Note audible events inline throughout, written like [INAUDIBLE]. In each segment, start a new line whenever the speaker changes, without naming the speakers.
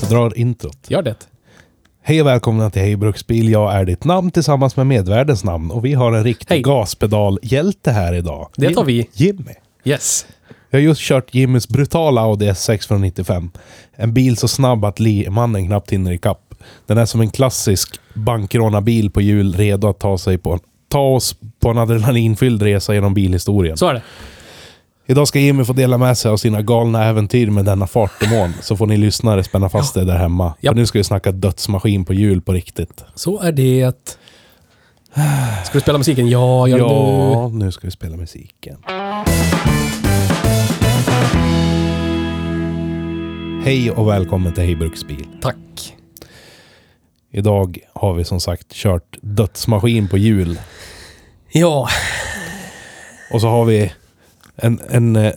Jag drar introt.
Gör det.
Hej och välkomna till Hej Bruksbil. Jag är ditt namn tillsammans med medvärdens namn. Och vi har en riktig
Hej.
gaspedalhjälte här idag.
Det tar vi.
Jimmy.
Yes. Jag
Jag har just kört Jimmys brutala Audi S6 från 95. En bil så snabb att li- mannen knappt hinner ikapp. Den är som en klassisk bankrånarbil på hjul, redo att ta, sig på, ta oss på en adrenalinfylld resa genom bilhistorien.
Så är det.
Idag ska Jimmy få dela med sig av sina galna äventyr med denna fartdemon. Så får ni lyssnare spänna fast er där hemma.
Ja.
För nu ska vi snacka dödsmaskin på hjul på riktigt.
Så är det. Ska du spela musiken? Ja, gör ja.
Ja, nu ska vi spela musiken. Hej och välkommen till Hej Bruksbil.
det. Tack.
Idag har vi som sagt kört dödsmaskin på hjul.
Ja,
Och så har vi en, en, eh,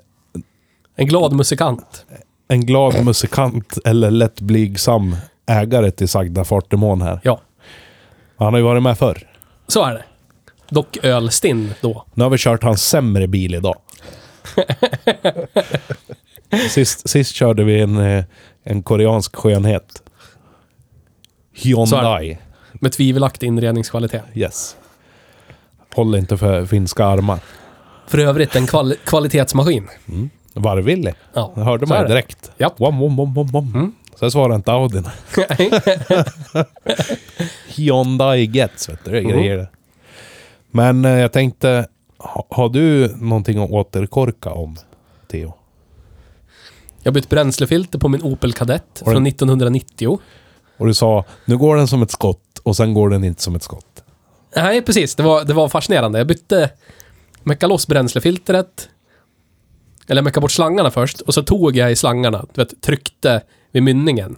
en glad musikant.
en glad musikant eller lätt blygsam ägare till sagda fartdemon här.
Ja,
Han har ju varit med förr.
så är det. Dock ölstinn då.
Nu har vi kört hans sämre bil
[LAUGHS]
idag. sist, sist körde vi en, eh, en koreansk skönhet. Hyundai.
Med tvivelaktig inredningskvalitet.
Yes. Håller inte för finska armar.
För övrigt en kval- kvalitetsmaskin.
Varvvillig.
Ja,
Det hörde
så är
man
det.
ju direkt.
Japp. Mm.
Wom, wom, wom, wom, wom. Sen svarade inte
[LAUGHS]
Audin. Hyundai Gets, vet du. Det är
Mm.
grejer det. Men eh, jag tänkte, ha, har du någonting att återkorka om, Theo?
Jag bytte bränslefilter på min Opel Kadett
Har du-
från 1990.
Och du sa, nu går den som ett skott och sen går den inte som ett skott.
Nej, precis. Det var, det var fascinerande. Jag bytte... Mecka loss bränslefiltret. Eller mecka bort slangarna först. Och så tog jag i slangarna. Du vet, tryckte vid mynningen.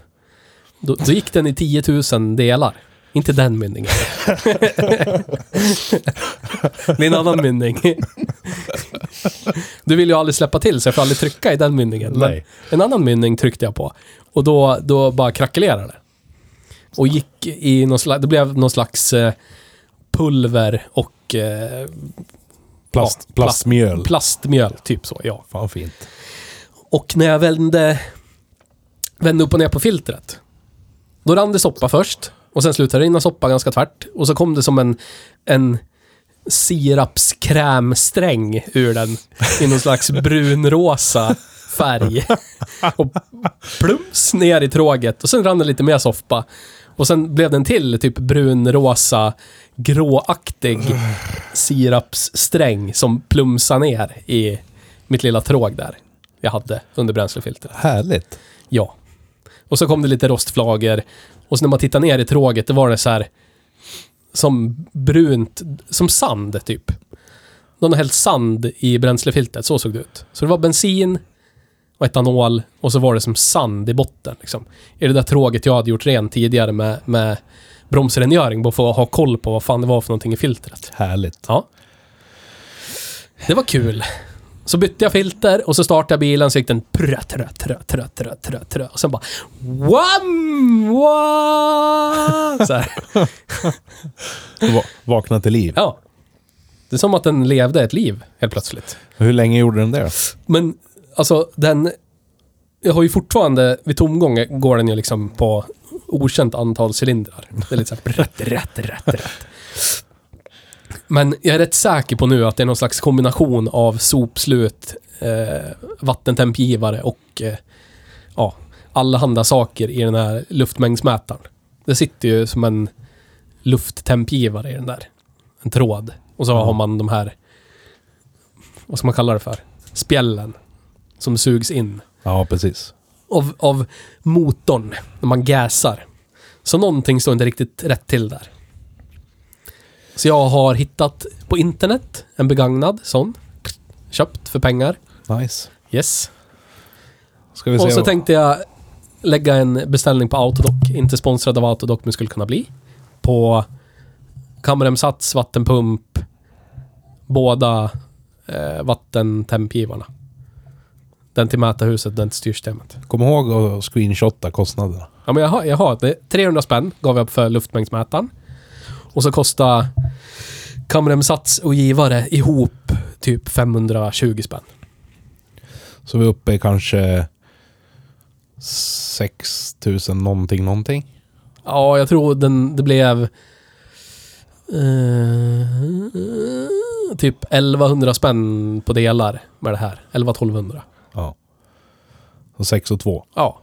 Då, då gick den i 10 000 delar. Inte den mynningen. [LAUGHS] det är en annan mynning. Du vill ju aldrig släppa till så jag får aldrig trycka i den mynningen. Men
Nej.
En annan mynning tryckte jag på. Och då, då bara krackelerade det. Och gick i någon slags... Det blev någon slags eh, pulver och eh,
Plast,
Ja,
plastmjöl.
plastmjöl. Typ så, ja.
Fan fint.
Och när jag vände, vände upp och ner på filtret. Då rann det soppa först. Och sen slutade det rinna soppa ganska tvärt. Och så kom det som en, en sirapskrämsträng ur den. I någon slags brunrosa [LAUGHS] färg. Och plums ner i tråget. Och sen rann det lite mer soppa. Och sen blev den till typ brunrosa, gråaktig sirapssträng som plumsade ner i mitt lilla tråg där jag hade under bränslefiltret.
Härligt.
Ja. Och så kom det lite rostflagor. Och så när man tittar ner i tråget, det var det så här som brunt, som sand typ. Någon har hällt sand i bränslefiltret, så såg det ut. Så det var bensin och etanol och så var det som sand i botten. Liksom. I det där tråget jag hade gjort rent tidigare med, med bromsrengöring, bara för att ha koll på vad fan det var för någonting i filtret.
Härligt.
Ja. Det var kul. Så bytte jag filter och så startade jag bilen så gick den prö, trö, trö, trö, trö, trö, trö. Och sen bara... Wham! Wham! Så här.
Du va- vakna till liv.
Ja. Det är som att den levde ett liv helt plötsligt.
Hur länge gjorde den det? då?
Men alltså den... Jag har ju fortfarande, vid tomgång går den ju liksom på okänt antal cylindrar. Det är lite såhär rätt, rätt, rätt, rätt. Men jag är rätt säker på nu att det är någon slags kombination av sopslut, eh, vattentempgivare och eh, ja, allehanda saker i den här luftmängdsmätaren. Det sitter ju som en lufttempgivare i den där. En tråd. Och så har man de här, vad ska man kalla det för? Spjällen. Som sugs in
Ja, precis.
av, av motorn när man gasar. Så någonting står inte riktigt rätt till där. Så jag har hittat på internet en begagnad sån. Köpt för pengar.
Nice.
Yes.
Ska vi se
Och så
vad-
tänkte jag lägga en beställning på Autodoc. Inte sponsrad av Autodoc, men skulle kunna bli. På kamremsats, vattenpump, båda eh, vattentempgivarna. Den till mätarhuset, den till styrsystemet.
Kom ihåg att screenshotta kostnaderna.
Ja, men jag har, jag har det. 300 spänn gav jag för luftmängdsmätaren. Och så kostar kamremsats och givare ihop typ 520 spänn.
Så vi är uppe i kanske 6 000 någonting någonting.
Ja, jag tror den, det blev... Eh, typ 1100 spänn på delar med det här. 11-1200.
Ja. Så 6 och 2.
Ja.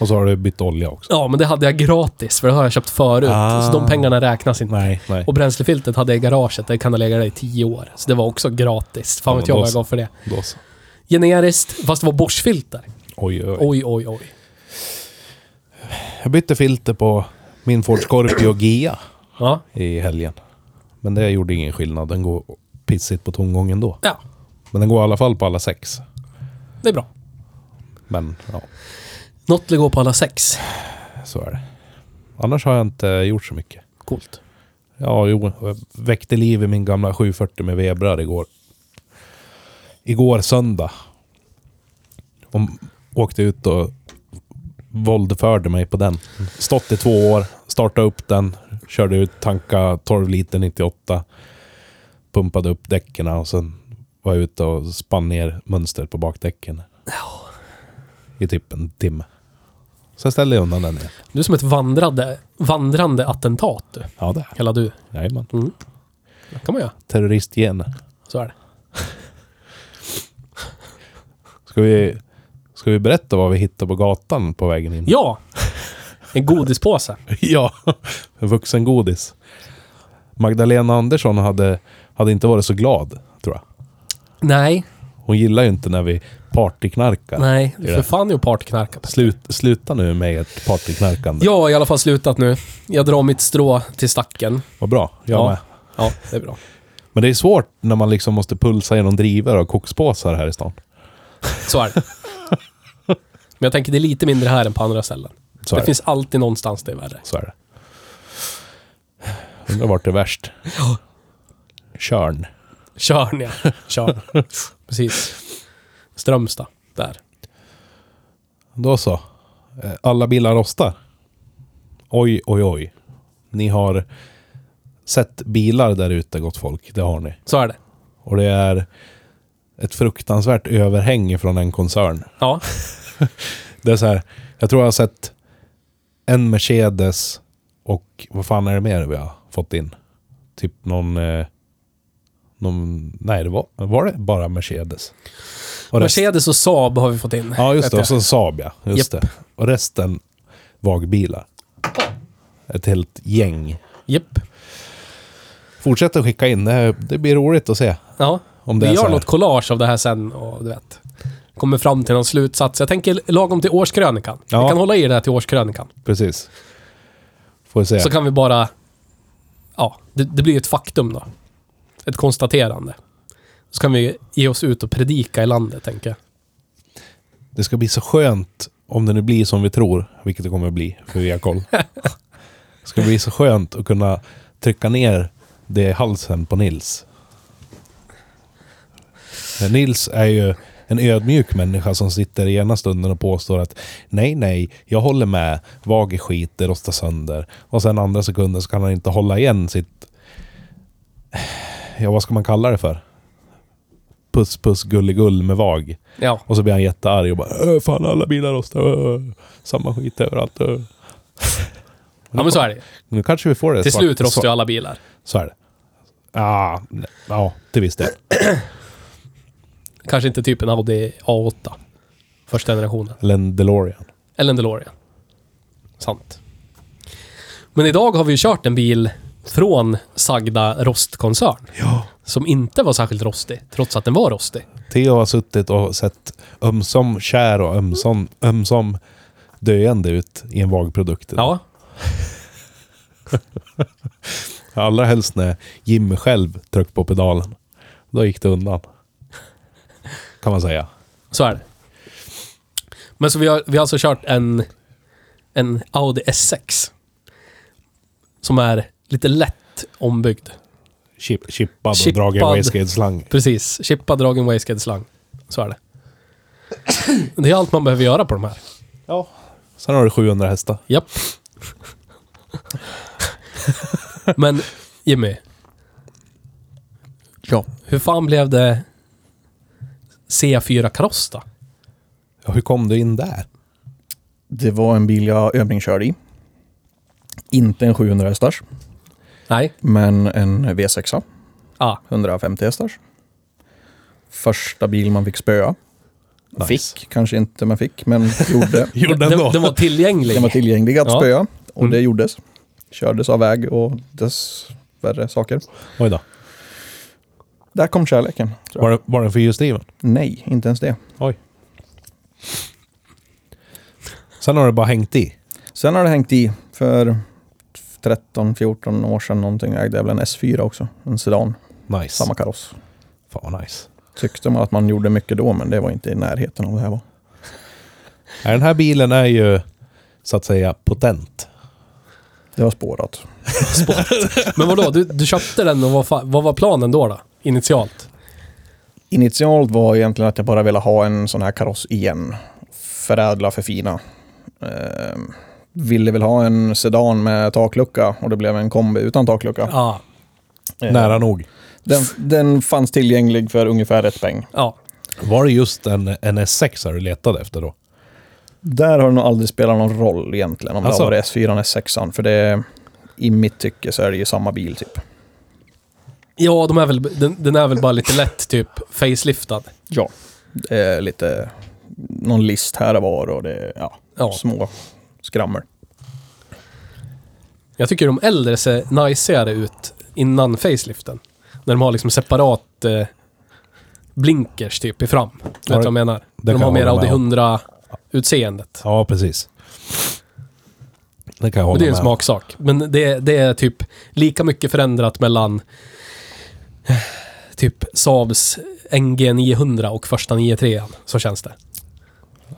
Och så har du bytt olja också.
ja, men det hade jag gratis för det har jag köpt förut.
Ah.
Så de pengarna räknas inte.
Nej, nej.
Och bränslefiltret hade jag i garaget. Det kan ha legat där i 10 år. Så det var också gratis. Fan
Ja,
vet
men
jag
då
vad jag
så.
gav för det.
Då så.
Generiskt, fast det var Bosch-filter.
Oj, oj, oj.
Oj, oj, oj.
Jag bytte filter på min Ford Scorpio GIA
Ja.
i helgen. Men det gjorde ingen skillnad. Den går pissigt på tomgång ändå.
ja,
Men den går i alla fall på alla sex.
det är bra.
Men ja,
Något går på alla sex.
så är det. Annars har jag inte gjort så mycket.
Coolt.
Ja, jo. Jag väckte liv i min gamla 740 med vebrar igår. Igår söndag. De åkte ut och våldförde mig på den. Stått i två år, startade upp den, körde ut, tanka 12 liter 98. Pumpade upp däcken och sen var jag ute och spann ner mönster på bakdäcken. I typ en timme. Sen ställde jag undan den igen.
Du är som ett vandrande, vandrande attentat du.
Ja, det är
Kallar du.
Jajamän.
Mm. Det kan man göra.
Terroristgener.
Så är det.
Ska vi, ska vi berätta vad vi hittade på gatan på vägen in?
Ja! En godispåse.
[LAUGHS] ja. Vuxengodis. Magdalena Andersson hade, hade inte varit så glad, tror jag.
Nej,
Hon gillar ju inte när vi partyknarkar.
nej.
Det är
För
det.
fan är ju partyknarkat.
Slut, sluta nu med ert partyknarkande.
Jag har i alla fall slutat nu. Jag drar mitt strå till stacken.
Vad bra. Jag
Ja.
med.
Ja, det är bra.
Men det är svårt när man liksom måste pulsa genom drivor och kokspåsar här i stan.
Så är det. Men jag tänker det är lite mindre här än på andra ställen.
Så är
det
det.
finns alltid någonstans det är värre.
Så är det. Undrar vart det är värst. Körn.
Körn ja. Körn. Precis. Strömstad. Där.
Då så. Eh, Alla bilar rostar. Oj, oj, oj. Ni har sett bilar där ute, gott folk. Det har ni.
Så är det.
Och det är ett fruktansvärt överhäng från en koncern.
Ja.
Det är så här, jag tror jag har sett en Mercedes och vad fan är det mer vi har fått in? Typ någon... Eh, någon nej, det var, var det bara Mercedes? Och resten-
Mercedes och Saab har vi fått in.
Ja, just det. Och
Vet jag.
så Saab, ja. Just
Japp.
det. Och resten vagbilar. Ett helt gäng.
Japp.
Fortsätt att skicka in. Det, här, det blir roligt att se.
Ja.
Om det
vi
är så
gör
här.
något collage av det här sen och du vet. Kommer fram till någon slutsats. Jag tänker lagom till årskrönikan. Vi
Ja.
kan hålla i det här till årskrönikan.
Precis. Får vi se.
Så kan vi bara... Ja, det, det blir ju ett faktum då. Ett konstaterande. Så kan vi ge oss ut och predika i landet, tänker jag.
Det ska bli så skönt om det nu blir som vi tror, vilket det kommer bli, för vi har koll. det ska bli så skönt att kunna trycka ner det i halsen på Nils. Men Nils är ju en ödmjuk människa som sitter i ena stunden och påstår att nej, nej, jag håller med, vag är skit, det rostar sönder. Och sen andra sekunden så kan han inte hålla igen sitt... Ja, vad ska man kalla det för? Puss, puss, gulligull med vag.
Ja.
Och så blir han jättearg och bara "Äh, Fan alla bilar rostar. äh, Samma skit överallt. äh."
ja, men så är det ju.
Nu kanske vi får det.
Till
svart-
slut rostar
svart-
ju alla bilar.
Så är det. Ah, ne- ja, till viss del.
Kanske inte typ en Audi A8. Första generationen.
Eller en DeLorean.
Eller en DeLorean. Sant. Men idag har vi ju kört en bil från sagda rostkoncern.
Ja.
Som inte var särskilt rostig, trots att den var rostig.
Theo har suttit och sett ömsom kär och ömsom, ömsom döende ut i en vag produkt.
Ja.
Allra helst när Jimmy själv tryckte på pedalen. Då gick det undan. Kan man säga.
Så är det. Men så vi har, vi har alltså kört en, en Audi S6. Som är lite lätt ombyggd.
Chip, chippad och
Chippad.
dragen wastegate-slang.
Precis. Chippad, dragen, wasted, slang. Så är det. Det är allt man behöver göra på de här.
Ja. Sen har du 700 hästar.
Japp. Men Jimmy.
Ja.
Hur fan blev det C4-kaross då?
Ja, hur kom du in där?
Det var en bil jag övningskörde i. Inte en 700 hästars,
Nej.
men en V6.
Ah,
150 hästars. Första bil man fick spöa.
Nice.
Fick, kanske inte man fick, men gjorde.
Gjorde
den,
ändå.
den var tillgänglig.
Den var tillgänglig att
Ja.
spöa och
Mm.
det gjordes. Kördes av väg och dessvärre saker.
Oj då.
Där kom kärleken. tror
Var,
jag.
det- var den fyrhjulsdriven?
Nej, inte ens det.
Oj. Sen har det bara hängt i.
Sen har det hängt i. För 13-14 år sedan någonting ägde jag väl en S4 också. En sedan,
Nice.
samma kaross.
Fan vad nice.
Tyckte man att man gjorde mycket då, men det var inte i närheten av det här var.
Ja, Den här bilen är ju så att säga potent.
Det var spårat.
Men vadå, du, du köpte den och vad, fa- vad var planen då? då? Initialt?
Initialt var egentligen att jag bara ville ha en sån här kaross igen. Förädla, förfina. Ehm, ville väl ha en sedan med taklucka och det blev en kombi utan taklucka.
Ja.
Ehm,
Nära nog.
Den, den fanns tillgänglig för ungefär ett peng.
ja.
Var det just en, en S6 du letade efter då?
Där har det nog aldrig spelat någon roll egentligen om
Alltså?
det har varit S4 eller S6. För det är, i mitt tycke så är det ju samma bil typ.
Ja, de är väl, den, den är väl bara lite lätt typ faceliftad.
Ja. Det är lite någon list här och var och det är ja,
Ja.
små skrammel.
Jag tycker de äldre ser najsigare ut innan faceliften. När de har liksom separat eh, blinkers typ i fram. Vet du
det-
vad jag menar? När
kan
de har
jag
mer
hålla
Audi
med om.
100-utseendet.
Ja, precis. Det kan jag
Men
hålla
det är en
med om.
smaksak. Men det, det är typ lika mycket förändrat mellan eh, typ Saabs NG 900 och första 93 Så känns det.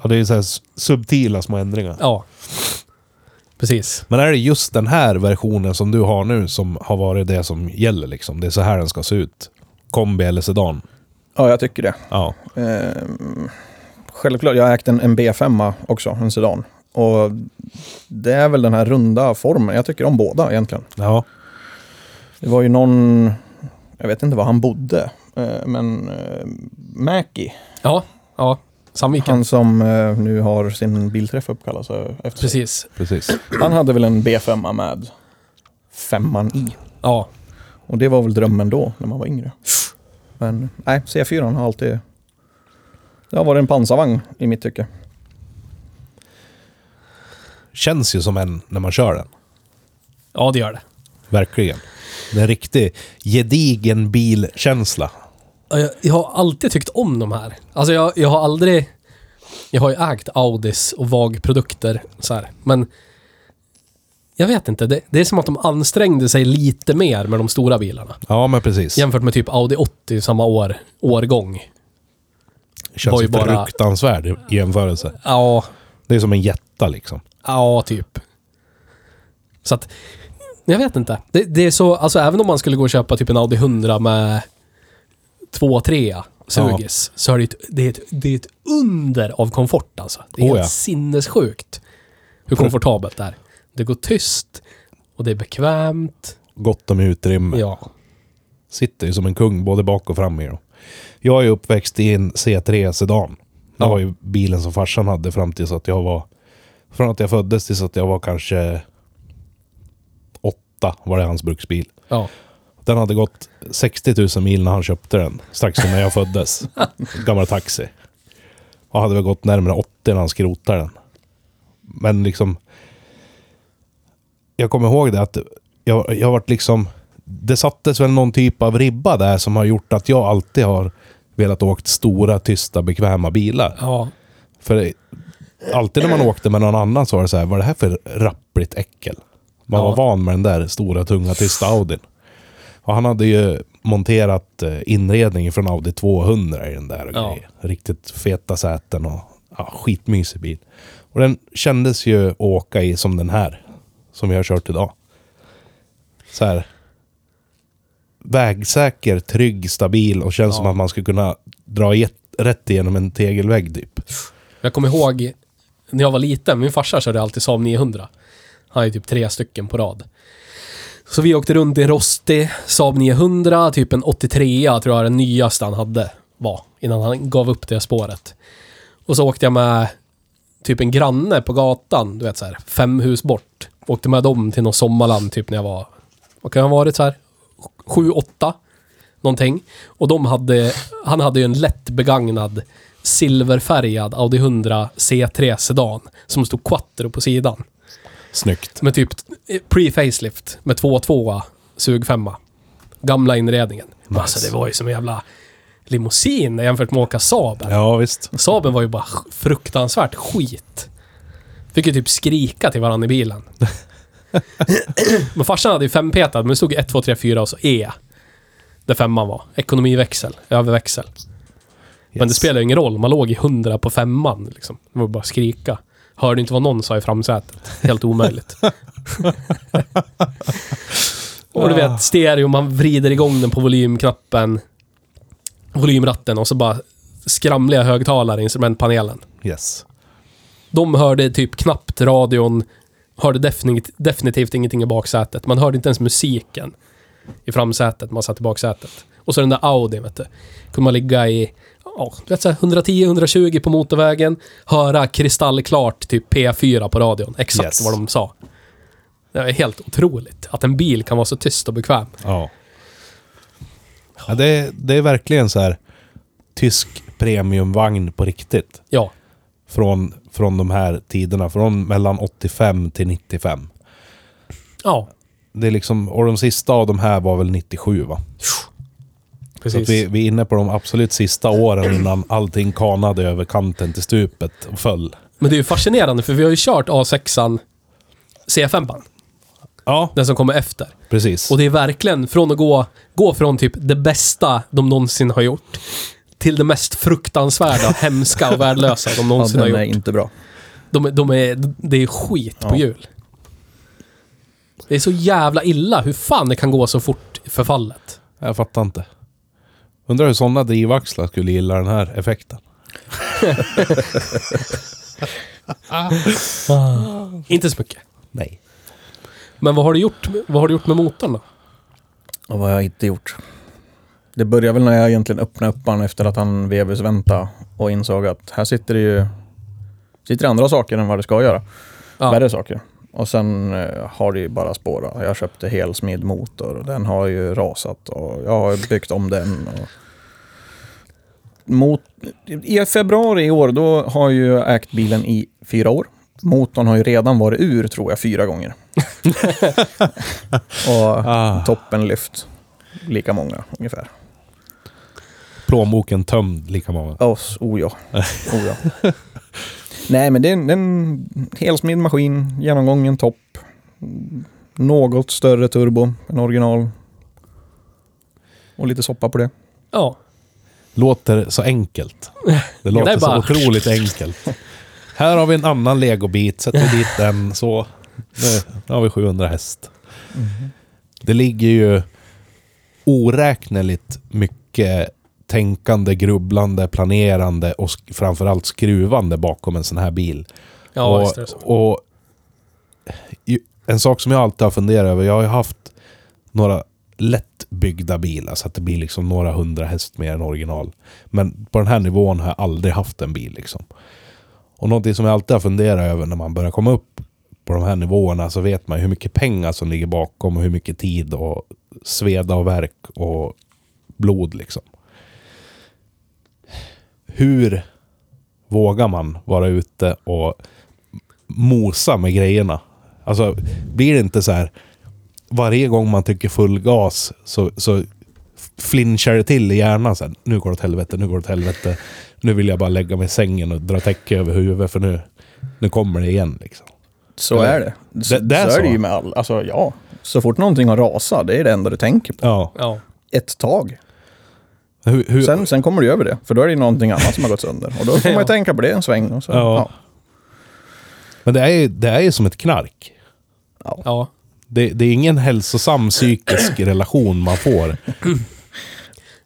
Ja, det är så här s- subtila små ändringar.
Ja. Precis.
Men är det just den här versionen som du har nu som har varit det som gäller liksom? Det är så här den ska se ut. Kombi eller sedan.
Ja, jag tycker det.
Ja.
Ehm, självklart, jag har ägt en, en B5 också, en sedan. Och det är väl den här runda formen. Jag tycker om båda egentligen.
Ja.
Det var ju någon, jag vet inte var han bodde, eh, men eh, Mäki,
Ja. Ja. Sandviken.
han som eh, nu har sin bilträff uppkallad så efter sig.
Precis.
Precis.
Han hade väl en B5 med femman i.
Ja.
Och det var väl drömmen då, när man var yngre. Men nej, C4 har alltid... Det har varit en pansarvagn i mitt tycke.
Känns ju som en när man kör den.
Ja, det gör det.
Verkligen. Det är en riktig gedigen bilkänsla.
Ja, Jag, jag har alltid tyckt om de här. Alltså jag, jag har aldrig... Jag har ju ägt Audis och VAG-produkter så här, men... Jag vet inte, det, det är som att de ansträngde sig lite mer med de stora bilarna.
Ja, men precis.
Jämfört med typ Audi 80 samma år, årgång.
Känns
var ju
ju
bara-
fruktansvärd i i jämförelse.
Ja,
Det är som en jätta liksom.
ja typ. Så att... Jag vet inte. Det, det är så, alltså även om man skulle gå och köpa typ en Audi 100 med 2-3 sugis, så är det, ett, det, är ett, det är ett under av komfort alltså. Det är
Oh,
helt
ja.
sinnessjukt hur komfortabelt det är. Det går tyst och det är bekvämt.
Gott om utrymme.
Ja.
Sitter ju som en kung både bak och fram i dem. Jag är ju uppväxt i en C3 Sedan. Det
Ja.
var ju bilen som farsan hade fram tills att jag var... Från att jag föddes tills att jag var kanske... Åtta var det hans bruksbil.
ja.
Den hade gått 60 000 mil när han köpte den. Strax innan jag föddes. Gammal taxi. Och hade väl gått närmare 80 när han skrotade den. Men liksom... Jag kommer ihåg det att jag, jag vart liksom... Det sattes väl någon typ av ribba där som har gjort att jag alltid har velat åkt stora, tysta, bekväma bilar.
Ja.
För alltid när man åkte med någon annan så var det så här, vad är det här för rappligt äckel? Man var
Ja.
van med den där stora, tunga, tysta Audin. Och han hade ju monterat eh, inredningen från Audi 200 i den där och
Ja.
grejer. Riktigt feta säten och ja, skitmysig bil. Och den kändes ju att åka i som den här, som vi har kört idag. Så här. Vägsäker, trygg, stabil och känns
Ja.
som att man skulle kunna dra i- rätt igenom en tegelvägg typ.
Jag kommer ihåg när jag var liten, min farsa körde alltid Saab 900. Han är typ tre stycken på rad. Så vi åkte runt i en rostig Saab 900, typ en 83 tror jag den nyaste han hade var. Innan han gav upp det spåret. Och så åkte jag med typ en granne på gatan, du vet så här, fem hus bort. Åkte med dem till något sommarland typ när jag var, vad kan jag ha varit så här, sju, åtta. Någonting. Och de hade, han hade ju en lätt begagnad silverfärgad Audi 100 C3 Sedan som stod quattro på sidan.
Snyggt.
Med typ eh, pre-facelift med 2.2 sugfemma. Gamla inredningen. Men Alltså det var ju som en jävla limousin jämfört med att åka Saaben.
Ja, visst.
Saaben var ju bara sj- fruktansvärt skit. Fick ju typ skrika till varandra i bilen. men farsan hade ju fempetad, men det stod 1, 2, 3, 4 och så E. Där femman var. Ekonomiväxel, överväxel. Men det spelar ju ingen roll, man låg i 100 på femman liksom. Det var bara att skrika. Hörde inte vad någon sa i framsätet. Helt omöjligt. och du vet, stereo, man vrider igång den på volymknappen. Volymratten och så bara skramliga högtalare i instrumentpanelen.
Yes.
De hörde typ knappt radion. Hörde definitivt, definitivt ingenting i baksätet. Man hörde inte ens musiken i framsätet. Man satt i baksätet. Och så den där Audi, vet du. Kunde man ligga i ja, du vet så här, 110-120 på motorvägen. Höra kristallklart typ P4 på radion. Exakt
Yes.
vad de sa. Det är helt otroligt att en bil kan vara så tyst och bekväm.
Ja. ja det, är- det är verkligen så här tysk premiumvagn på riktigt.
Ja,
Från, från de här tiderna, från mellan 85 till 95.
ja
Det är liksom, och de sista av de här var väl 97 va? Så att
precis.
vi, vi är inne på de absolut sista åren innan allting kanade över kanten till stupet och föll.
Men det är ju fascinerande för vi har ju kört A6an, C5an,
Ja,
den som kommer efter.
precis.
Och det är verkligen från att gå, gå från typ det bästa de någonsin har gjort till det mest
[LAUGHS]
fruktansvärda, hemska och värdelösa de
Ja,
någonsin
den
har
är
gjort.
inte bra.
De, de är, det är skit på
Ja.
jul. Det är så jävla illa hur fan det kan gå så fort i förfallet.
Jag fattar inte. Undrar hur sådana drivaxlar skulle gilla den här effekten.
Inte så mycket.
Nej.
Men vad har du gjort, vad har du gjort med motorn då?
Och vad har jag inte gjort? Det började väl när jag egentligen öppnade upp han efter att han vevus vänta och insåg att här sitter det ju sitter det andra saker än vad det ska göra.
Ja.
Värre saker. Och sen eh, har det ju bara spårat. Jag köpte helsmidd motor och den har ju rasat och jag har ju byggt om den. Och... Mot... I februari i år, då har ju jag ägt bilen i fyra år. Motorn har ju redan varit ur, tror jag, fyra gånger. och
Ah,
toppen lyft. Lika många ungefär.
plånboken tömd lika många.
Oss, oh ja. Oh
[LAUGHS]
ja. Nej, men det är en, en helsmidd maskin, genomgången topp. Mm, Något större turbo än original. Och lite soppa på det.
Ja,
Låter så enkelt. Det låter
Det är bara-
så otroligt enkelt. Här har vi en annan legobit, sätter dit den så. Nu, nu har vi 700 häst.
Mm-hmm.
Det ligger ju oräkneligt mycket tänkande, grubblande, planerande och sk- framförallt skruvande bakom en sån här bil.
ja
och,
visst är det så.
och ju- en sak som jag alltid har funderat över, jag har ju haft några lättbyggda bilar så att det blir liksom några hundra häst mer än original. Men på den här nivån har jag aldrig haft en bil liksom. Och någonting som jag alltid har funderat över när man börjar komma upp på de här nivåerna så vet man ju hur mycket pengar som ligger bakom och hur mycket tid och sveda och verk och blod liksom. Hur vågar man vara ute och mosa med grejerna? Alltså, blir det inte så här varje gång man trycker full gas så, så flinchar det till i hjärnan. Så här, nu går det åt helvete, nu går det åt helvete. Nu vill jag bara lägga mig i sängen och dra täcke över huvudet för nu, Nu kommer det igen liksom.
Så
Eller-
är det. Så,
Det- det är
så, är det
så.
ju med all, alltså ja. Så fort någonting har rasat, det är det enda du tänker på.
Ja.
Ja.
Ett tag.
Hur, hur,
Sen, sen kommer du över det, för då är det ju någonting annat som har gått sönder. Och då
[LAUGHS]
får man ju tänka på det en sväng. Och så,
Ja.
ja.
Men det är, ju- det är ju som ett knark.
ja.
Det, det är ingen hälsosam psykisk relation man får.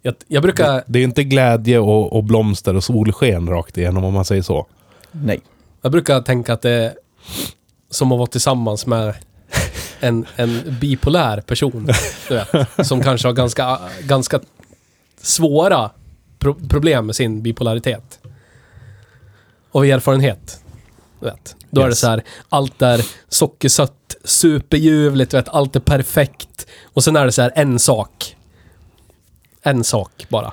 Jag, jag brukar...
Det är inte glädje och, och blomster och solsken rakt igenom om man säger så.
Nej.
Jag brukar tänka att det är som att vara tillsammans med en, en bipolär person. Du vet, som kanske har ganska, ganska svåra pro problem med sin bipolaritet. Av erfarenhet. Du vet. Då är det
Yes.
så här, allt är sockersött, superljuvligt, du vet, allt är perfekt. Och sen är det så här, en sak. En sak bara.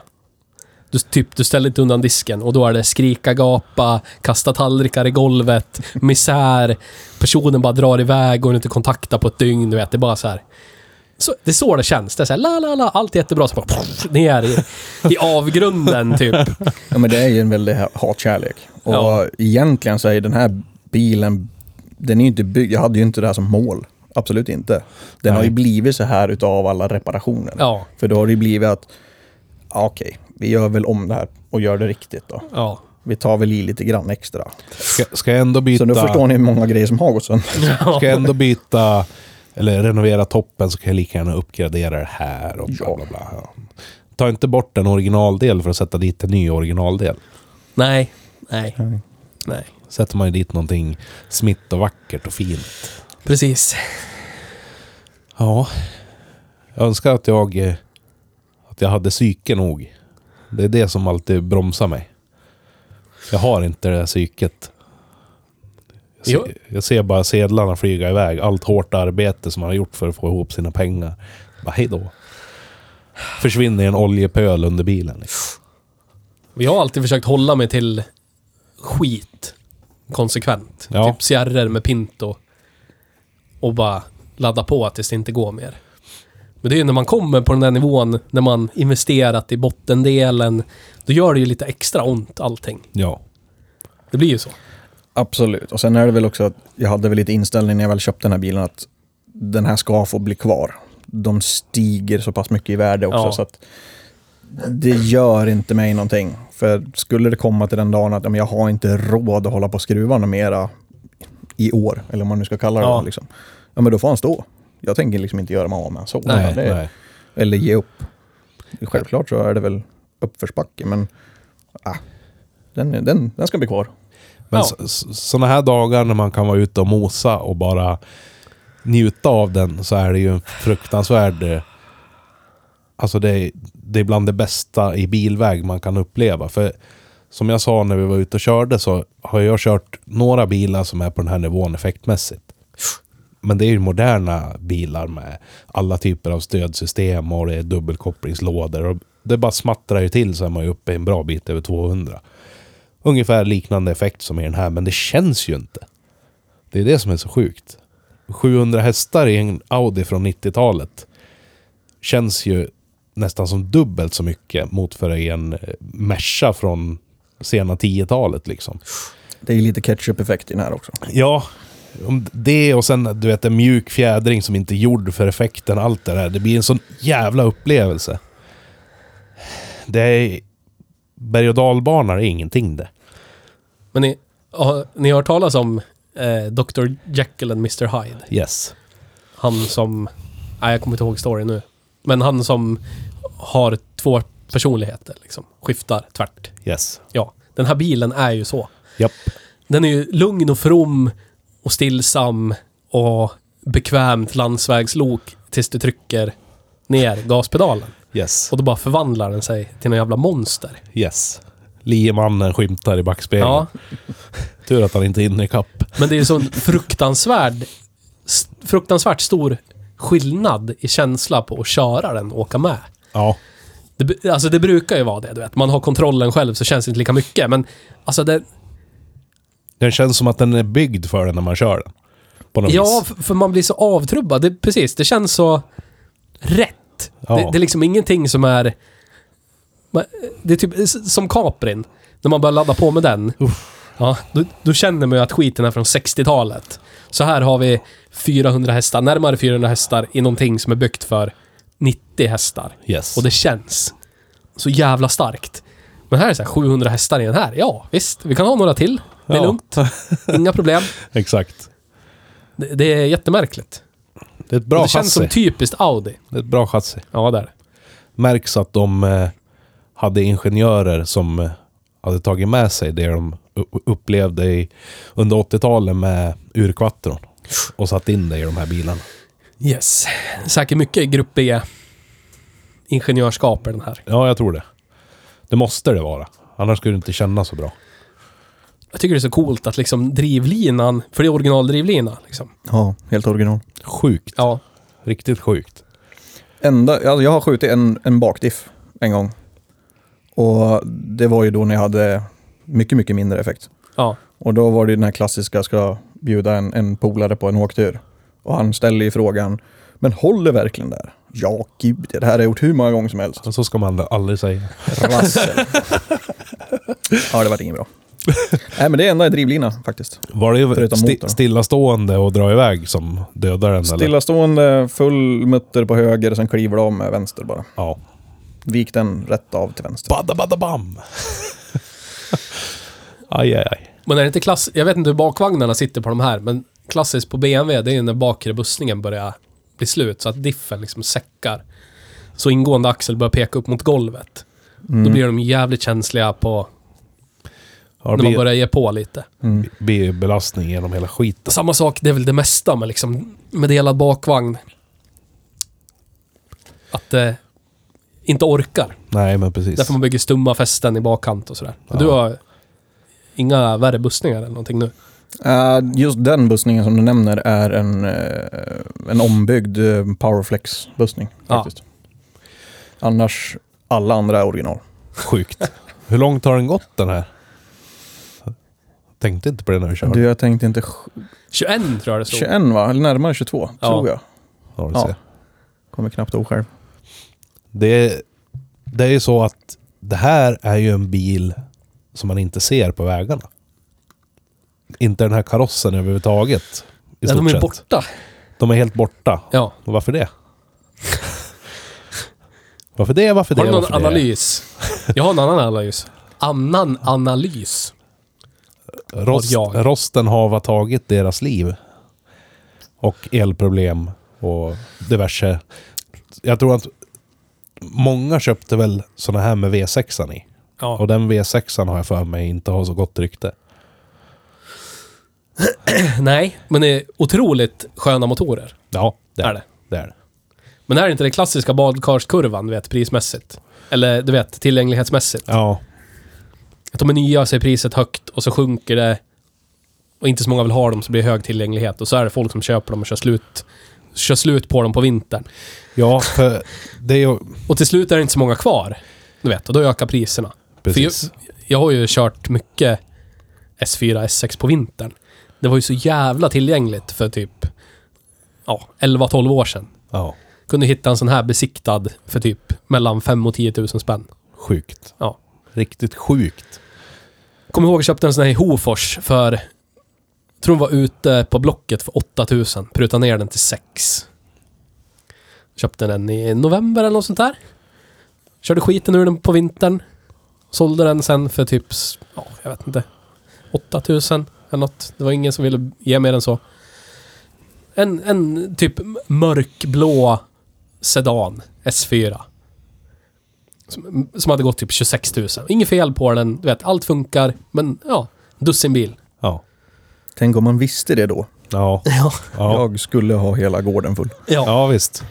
Du, typ, du ställer inte undan disken och då är det skrika, gapa, kasta tallrikar i golvet, misär. Personen bara drar iväg, går inte att kontakta på ett dygn, du vet. Det är bara så här. Så, det är så det känns. Det är så här, la, la, la, allt är jättebra. Så bara, pff, ner i, i avgrunden, typ.
Ja, men det är ju en väldig ha- hatkärlek. Och
Ja.
egentligen så är ju den här bilen, den är ju inte byggd, jag hade ju inte det här som mål. Absolut inte. Den
Nej.
har ju blivit så här utav alla reparationer.
Ja,
För då har det ju blivit att, ja, okej, vi gör väl om det här och gör det riktigt då.
ja.
Vi tar väl i lite grann extra.
Ska, ska jag ändå byta...
Så nu förstår ni hur många grejer som har gått sönder.
[LAUGHS]
Ska jag ändå byta eller renovera toppen så kan jag lika gärna uppgradera det här och bla bla bla. Ja. Ta inte bort en originaldel för att sätta dit en ny originaldel.
Nej, nej, nej.
Sätter man ju dit någonting smitt och vackert och fint.
Precis.
Ja. Jag önskar att jag, eh, att jag hade psyke nog. Det är det som alltid bromsar mig. Jag har inte det där psyket. Jag
Jo.
ser, jag ser bara sedlarna flyga iväg. Allt hårt arbete som man har gjort för att få ihop sina pengar. Bara hej då. Försvinner i en oljepöl under bilen. liksom.
Jag har alltid försökt hålla mig till skit konsekvent.
Ja.
Typ Sierror med Pinto. Och bara ladda på tills det inte går mer. Men det är ju när man kommer på den där nivån, när man investerat i bottendelen, då gör det ju lite extra ont allting.
Ja.
Det blir ju så.
Absolut. Och sen är det väl också att jag hade väl lite inställning när jag väl köpte den här bilen att den här ska få bli kvar. De stiger så pass mycket i värde också
Ja.
så att det gör inte mig någonting. För skulle det komma till den dagen att ja, men jag har inte råd att hålla på och skruva något mera i år, eller vad man nu ska kalla det,
Ja.
ja. Liksom. ja men då får han stå. Jag tänker liksom inte göra mig av med han så.
Nej,
det,
nej.
Eller ge upp. Självklart så är det väl uppförsbacke, men ah, den, den, den ska bli kvar.
Men
Ja.
sådana här dagar när man kan vara ute och mosa och bara njuta av den så är det ju en fruktansvärd... eh, Alltså det är, det är bland det bästa i bilväg man kan uppleva. För som jag sa när vi var ute och körde så har jag kört några bilar som är på den här nivån effektmässigt. Men det är ju moderna bilar med alla typer av stödsystem och det är dubbelkopplingslådor. Och det bara smattrar ju till så är man ju uppe en bra bit över 200. Ungefär liknande effekt som i den här, men det känns ju inte. Det är det som är så sjukt. 700 hästar i en Audi från 90-talet känns ju nästan som dubbelt så mycket mot för i en eh, Merca från sena 10-talet liksom.
Det är ju lite ketchup-effekt i den här också.
Ja, om det och sen du vet en mjuk fjädring som inte är gjord för effekten. Allt det där. Det blir en sån jävla upplevelse. Det är... Berg och dalbanor är ingenting det.
Men ni har, ni har hört talas om eh, Dr. Jekyll and Mr. Hyde?
Yes.
Han som... Nej, jag kommer inte ihåg storyn nu. Men han som har två personligheter, liksom. Skiftar tvärt.
Yes.
Ja, den här bilen är ju så.
Japp.
Den är ju lugn och from och stillsam och bekvämt landsvägslok tills du trycker ner gaspedalen.
Yes.
Och då bara förvandlar den sig till en jävla monster.
Yes. Liemannen skymtar i backspegeln.
Ja,
Tur att han inte hinner ikapp.
men det är ju sån fruktansvärd, s- fruktansvärt stor skillnad i känsla på att köra den och åka med.
Ja.
Det, bu- alltså det brukar ju vara det, du vet. Man har kontrollen själv så känns det inte lika mycket. Men alltså det,
Den känns som att den är byggd för den när man kör den. På något
Ja,
vis.
f- för man blir så avtrubbad. Det, precis, det känns så rätt.
Ja.
Det, det är liksom ingenting som är... ma- Det är typ s- som Caprin, när man börjar ladda på med den. Ja, då, då känner man ju att skiten är från 60-talet. Så här har vi 400 hästar, närmare 400 hästar i någonting som är byggt för 90 hästar.
Yes.
Och det känns så jävla starkt. Men här är det så här 700 hästar i den här. Ja, visst. Vi kan ha några till. Det är
Ja.
lugnt. Inga problem.
[LAUGHS] Exakt.
Det, det är jättemärkligt.
Det är ett
Och
bra
det känns som
chassi.
typiskt Audi.
Det är ett bra chassi.
Ja, där.
Märks att de eh, hade ingenjörer som eh, hade tagit med sig det de u- upplevde i, under 80-talet med urkvattron. Och satt in det i de här bilarna.
Yes. Säkert mycket grupp B ingenjörskap i den här.
Ja, jag tror det. Det måste det vara. Annars skulle det inte kännas så bra.
Jag tycker det är så coolt att liksom drivlinan, för det är originaldrivlina liksom.
Ja, helt original.
Sjukt.
Ja.
Riktigt sjukt.
Enda, alltså jag har skjutit en, en bakdiff en gång. Och det var ju då när jag hade mycket, mycket mindre effekt.
Ja.
Och då var det ju den här klassiska, ska bjuda en, en polare på en åktur. Och han ställer ju frågan, men håller verkligen där? Ja, gud, det här har jag gjort hur många gånger som helst.
Så ska man aldrig säga.
Rassel. ja, det vart inget bra. Nej, men det är enda i drivlina faktiskt.
Var det
Förutom
sti-
motorn.
stillastående och dra iväg som dödar den? Eller?
Stillastående, full mutter på höger, sen kliver du av med vänster bara.
Ja.
Vik den rätt av till vänster.
Badda badda bam! [LAUGHS] aj, aj, aj.
Men är det inte klass... Jag vet inte hur bakvagnarna sitter på de här, men klassiskt på BMW, det är ju när bakre bussningen börjar bli slut, så att diffen liksom säckar. Så ingående axel börjar peka upp mot golvet. Då blir de jävligt känsliga på...
Har
när man
bi-
börjar ge på lite.
bi- belastning genom hela skiten.
Samma sak, det är väl det mesta med liksom... Med delad bakvagn. Att det... inte orkar.
Nej, men precis.
Därför man bygger stumma fästen i bakkant och sådär. Men Du har inga värre bussningar eller någonting nu?
Eh, just den bussningen som du nämner är en, eh, en ombyggd eh, Powerflex-bussning.
Ja.
Faktiskt. Annars, alla andra är original.
Sjukt. Hur långt har den gått den här? Tänkte inte på det när vi körde.
Du, jag tänkte inte... sj-
21 tror jag det stod.
21 va? Eller närmare 22,
Ja.
tror jag.
Ja, du
Ja.
ser.
Kommer knappt ihåg själv.
Det, det är ju så att det här är ju en bil som man inte ser på vägarna. Inte den här karossen överhuvudtaget. I
Ja,
stort
de är
sett.
borta.
De är helt borta.
Ja.
Och varför det? varför det? Varför det?
Har du någon
varför
analys? Jag har en annan analys. Annan [LAUGHS] analys.
Det? Rost,
Har jag.
rosten har tagit deras liv. Och elproblem och diverse. Jag tror att många köpte väl sådana här med V6 an i. Och
Ja.
den V6 an har jag för mig inte har så gott rykte.
Nej, men det är otroligt sköna motorer.
Ja, det
Är det.
Det är det.
Men det här är inte den klassiska badkarskurvan, du vet, prismässigt. Eller du vet, tillgänglighetsmässigt.
Ja,
Att de är nya så är priset högt och så sjunker det. Och inte så många vill ha dem så blir det hög tillgänglighet. Och så är det folk som köper dem och kör slut, kör slut på dem på vintern.
ja för det är ju...
Och till slut är det inte så många kvar. Du vet, och då ökar priserna.
Precis.
För jag, jag har ju kört mycket S4, S6 på vintern. Det var ju så jävla tillgängligt för typ ja, 11-12 år sedan.
Ja,
Kunde hitta en sån här besiktad för typ mellan 5 och 10 000 spänn.
sjukt.
Ja.
Riktigt sjukt.
Kommer ihåg jag köpte en sån här i Hofors för... Tror hon var ute på Blocket för 8000. Prutade ner den till 6. Köpte den i november eller något sånt där. Körde skiten ur den på vintern. Sålde den sen för typ, s- ja, jag vet inte. 8000 eller något. Det var ingen som ville ge mer än så. En, en typ mörkblå sedan. S4. Som, som hade gått typ 26 000. Inget fel på den, du vet, allt funkar. Men ja, dussinbil.
Ja.
Tänk om man visste det då.
Ja.
Ja.
Ja,
Jag skulle ha hela gården full.
ja.
ja visst.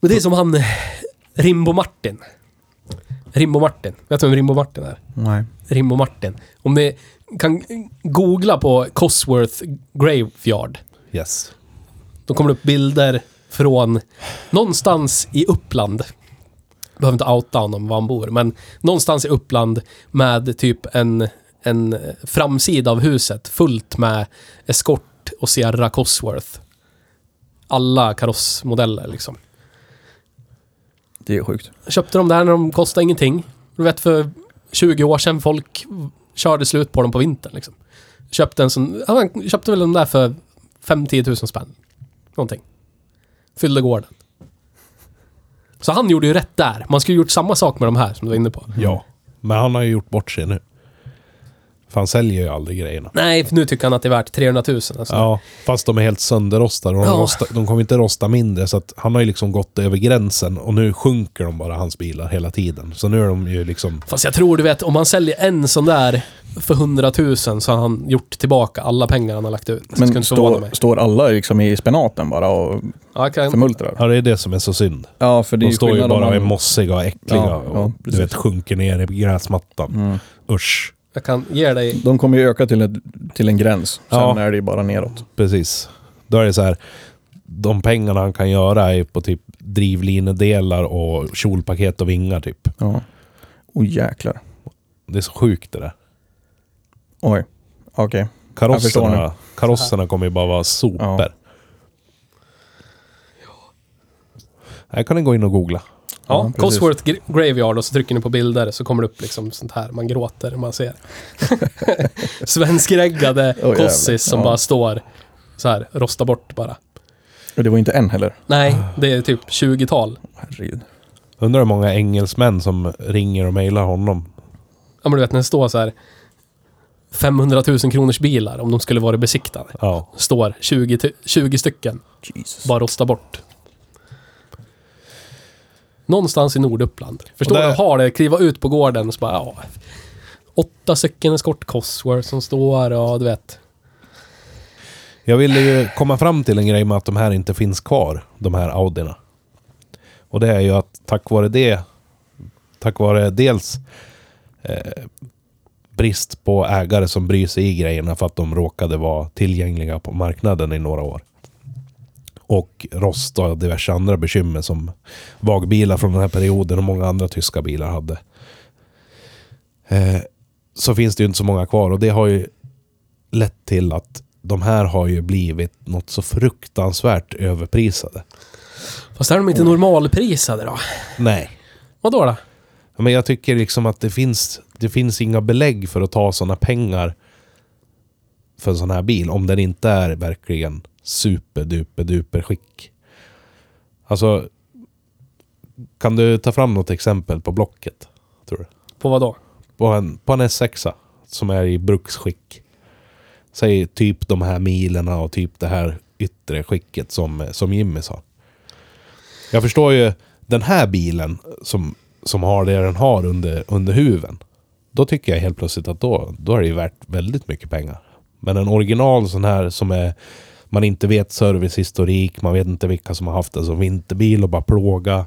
Men det är som han eh, Rimbo Martin. Rimbo Martin. Vet du vem Rimbo Martin är?
Nej.
Rimbo Martin. Om ni kan googla på Cosworth Graveyard.
Yes.
Då kommer det upp bilder från någonstans i Uppland. Behöver inte outa honom var han bor, men någonstans i Uppland med typ en, en framsida av huset fullt med Escort och Sierra Cosworth. Alla karossmodeller liksom.
Det är sjukt.
köpte de där när de kostade ingenting. Du vet för 20 år sedan folk körde slut på dem på vintern liksom. Köpte en sån, ja, han köpte väl de där för 5-10 000 spänn. Någonting. Fyllde gården. Så han gjorde ju rätt där. Man skulle gjort samma sak med de här som du var inne på.
Ja. Men han har ju gjort bort sig nu. För han säljer ju aldrig grejerna.
Nej, för nu tycker han att det är värt 300 000. Alltså.
Ja, fast de är helt sönderrostade. Och de,
Ja.
rosta, de kommer inte rosta mindre. Så att han har ju liksom gått över gränsen och nu sjunker de bara, hans bilar, hela tiden. Så nu är de ju liksom...
Fast jag tror du vet, om man säljer en sån där för 100 000 så har han gjort tillbaka alla pengar han har lagt ut. Men
Men
inte förvåna mig.
står, står alla liksom i spenaten bara och
Ja, jag kan,
förmultrar?
Ja, det är det som är så synd.
Ja, för det är
De
ju
står ju
skillnad om
bara och är
man-
mossiga och äckliga.
Ja,
och,
ja, Mm.
du vet, sjunker ner i gräsmattan. Usch.
jag kan ge dig...
De kommer ju öka till, ett, till en gräns. Sen
Ja.
är det ju bara neråt.
Precis. Då är det så här. De pengarna han kan göra är på typ drivlinedelar och kjolpaket och vingar typ.
Ja. Oh jäklar.
Det är så sjukt det där.
Oj. Okej. Jag förstår nu.
Karosserna, karosserna kommer ju bara vara sopor. Här kan ni gå in och googla.
Ja,
precis.
Cosworth Gra- Graveyard och så trycker ni på bilder så kommer det upp liksom sånt här. Man gråter, man
[LAUGHS]
ser. Svenskreggade
jävlar.
kossis som
Ja.
bara står så här, rostar bort bara.
Och det var ju inte en heller.
Nej,
Ah.
det är typ 20-tal.
Herregud.
Undrar hur många engelsmän som ringer och mejlar honom.
Ja, men du vet när det står så här 500 000 kronors bilar om de skulle vara besiktade.
Ja.
Står 20, ty- 20 stycken.
Jesus.
bara rosta bort. Någonstans i Norduppland. Förstår
Och där-
du? Har det, kliva ut på gården och så bara, ja. Åtta stycken skott Cosworth som står och du vet.
Jag ville ju komma fram till en grej med att de här inte finns kvar, de här Audierna. Och det är ju att tack vare det, tack vare dels eh, brist på ägare som bryr sig i grejerna för att de råkade vara tillgängliga på marknaden i några år. Och rost och diverse andra bekymmer som vagbilar från den här perioden och många andra tyska bilar hade. Eh, så finns det ju inte så många kvar och det har ju lett till att de här har ju blivit något så fruktansvärt överprisade.
Fast är de inte normalprisade då?
Nej.
Vadå då?
Men jag tycker liksom att det finns, det finns inga belägg för att ta sådana pengar för en sån här bil om den inte är verkligen superduper duper skick. Alltså, kan du ta fram något exempel på Blocket? Tror du?
På vad då?
På en, på en S6 som är i bruksskick. Säg typ de här milerna och typ det här yttre skicket som, som Jimmy sa. Jag förstår ju den här bilen som, som har det den har under, under huven. Då tycker jag helt plötsligt att då, då är det ju värt väldigt mycket pengar. Men en original sån här som är man inte vet servicehistorik, man vet inte vilka som har haft den som vinterbil och bara plåga.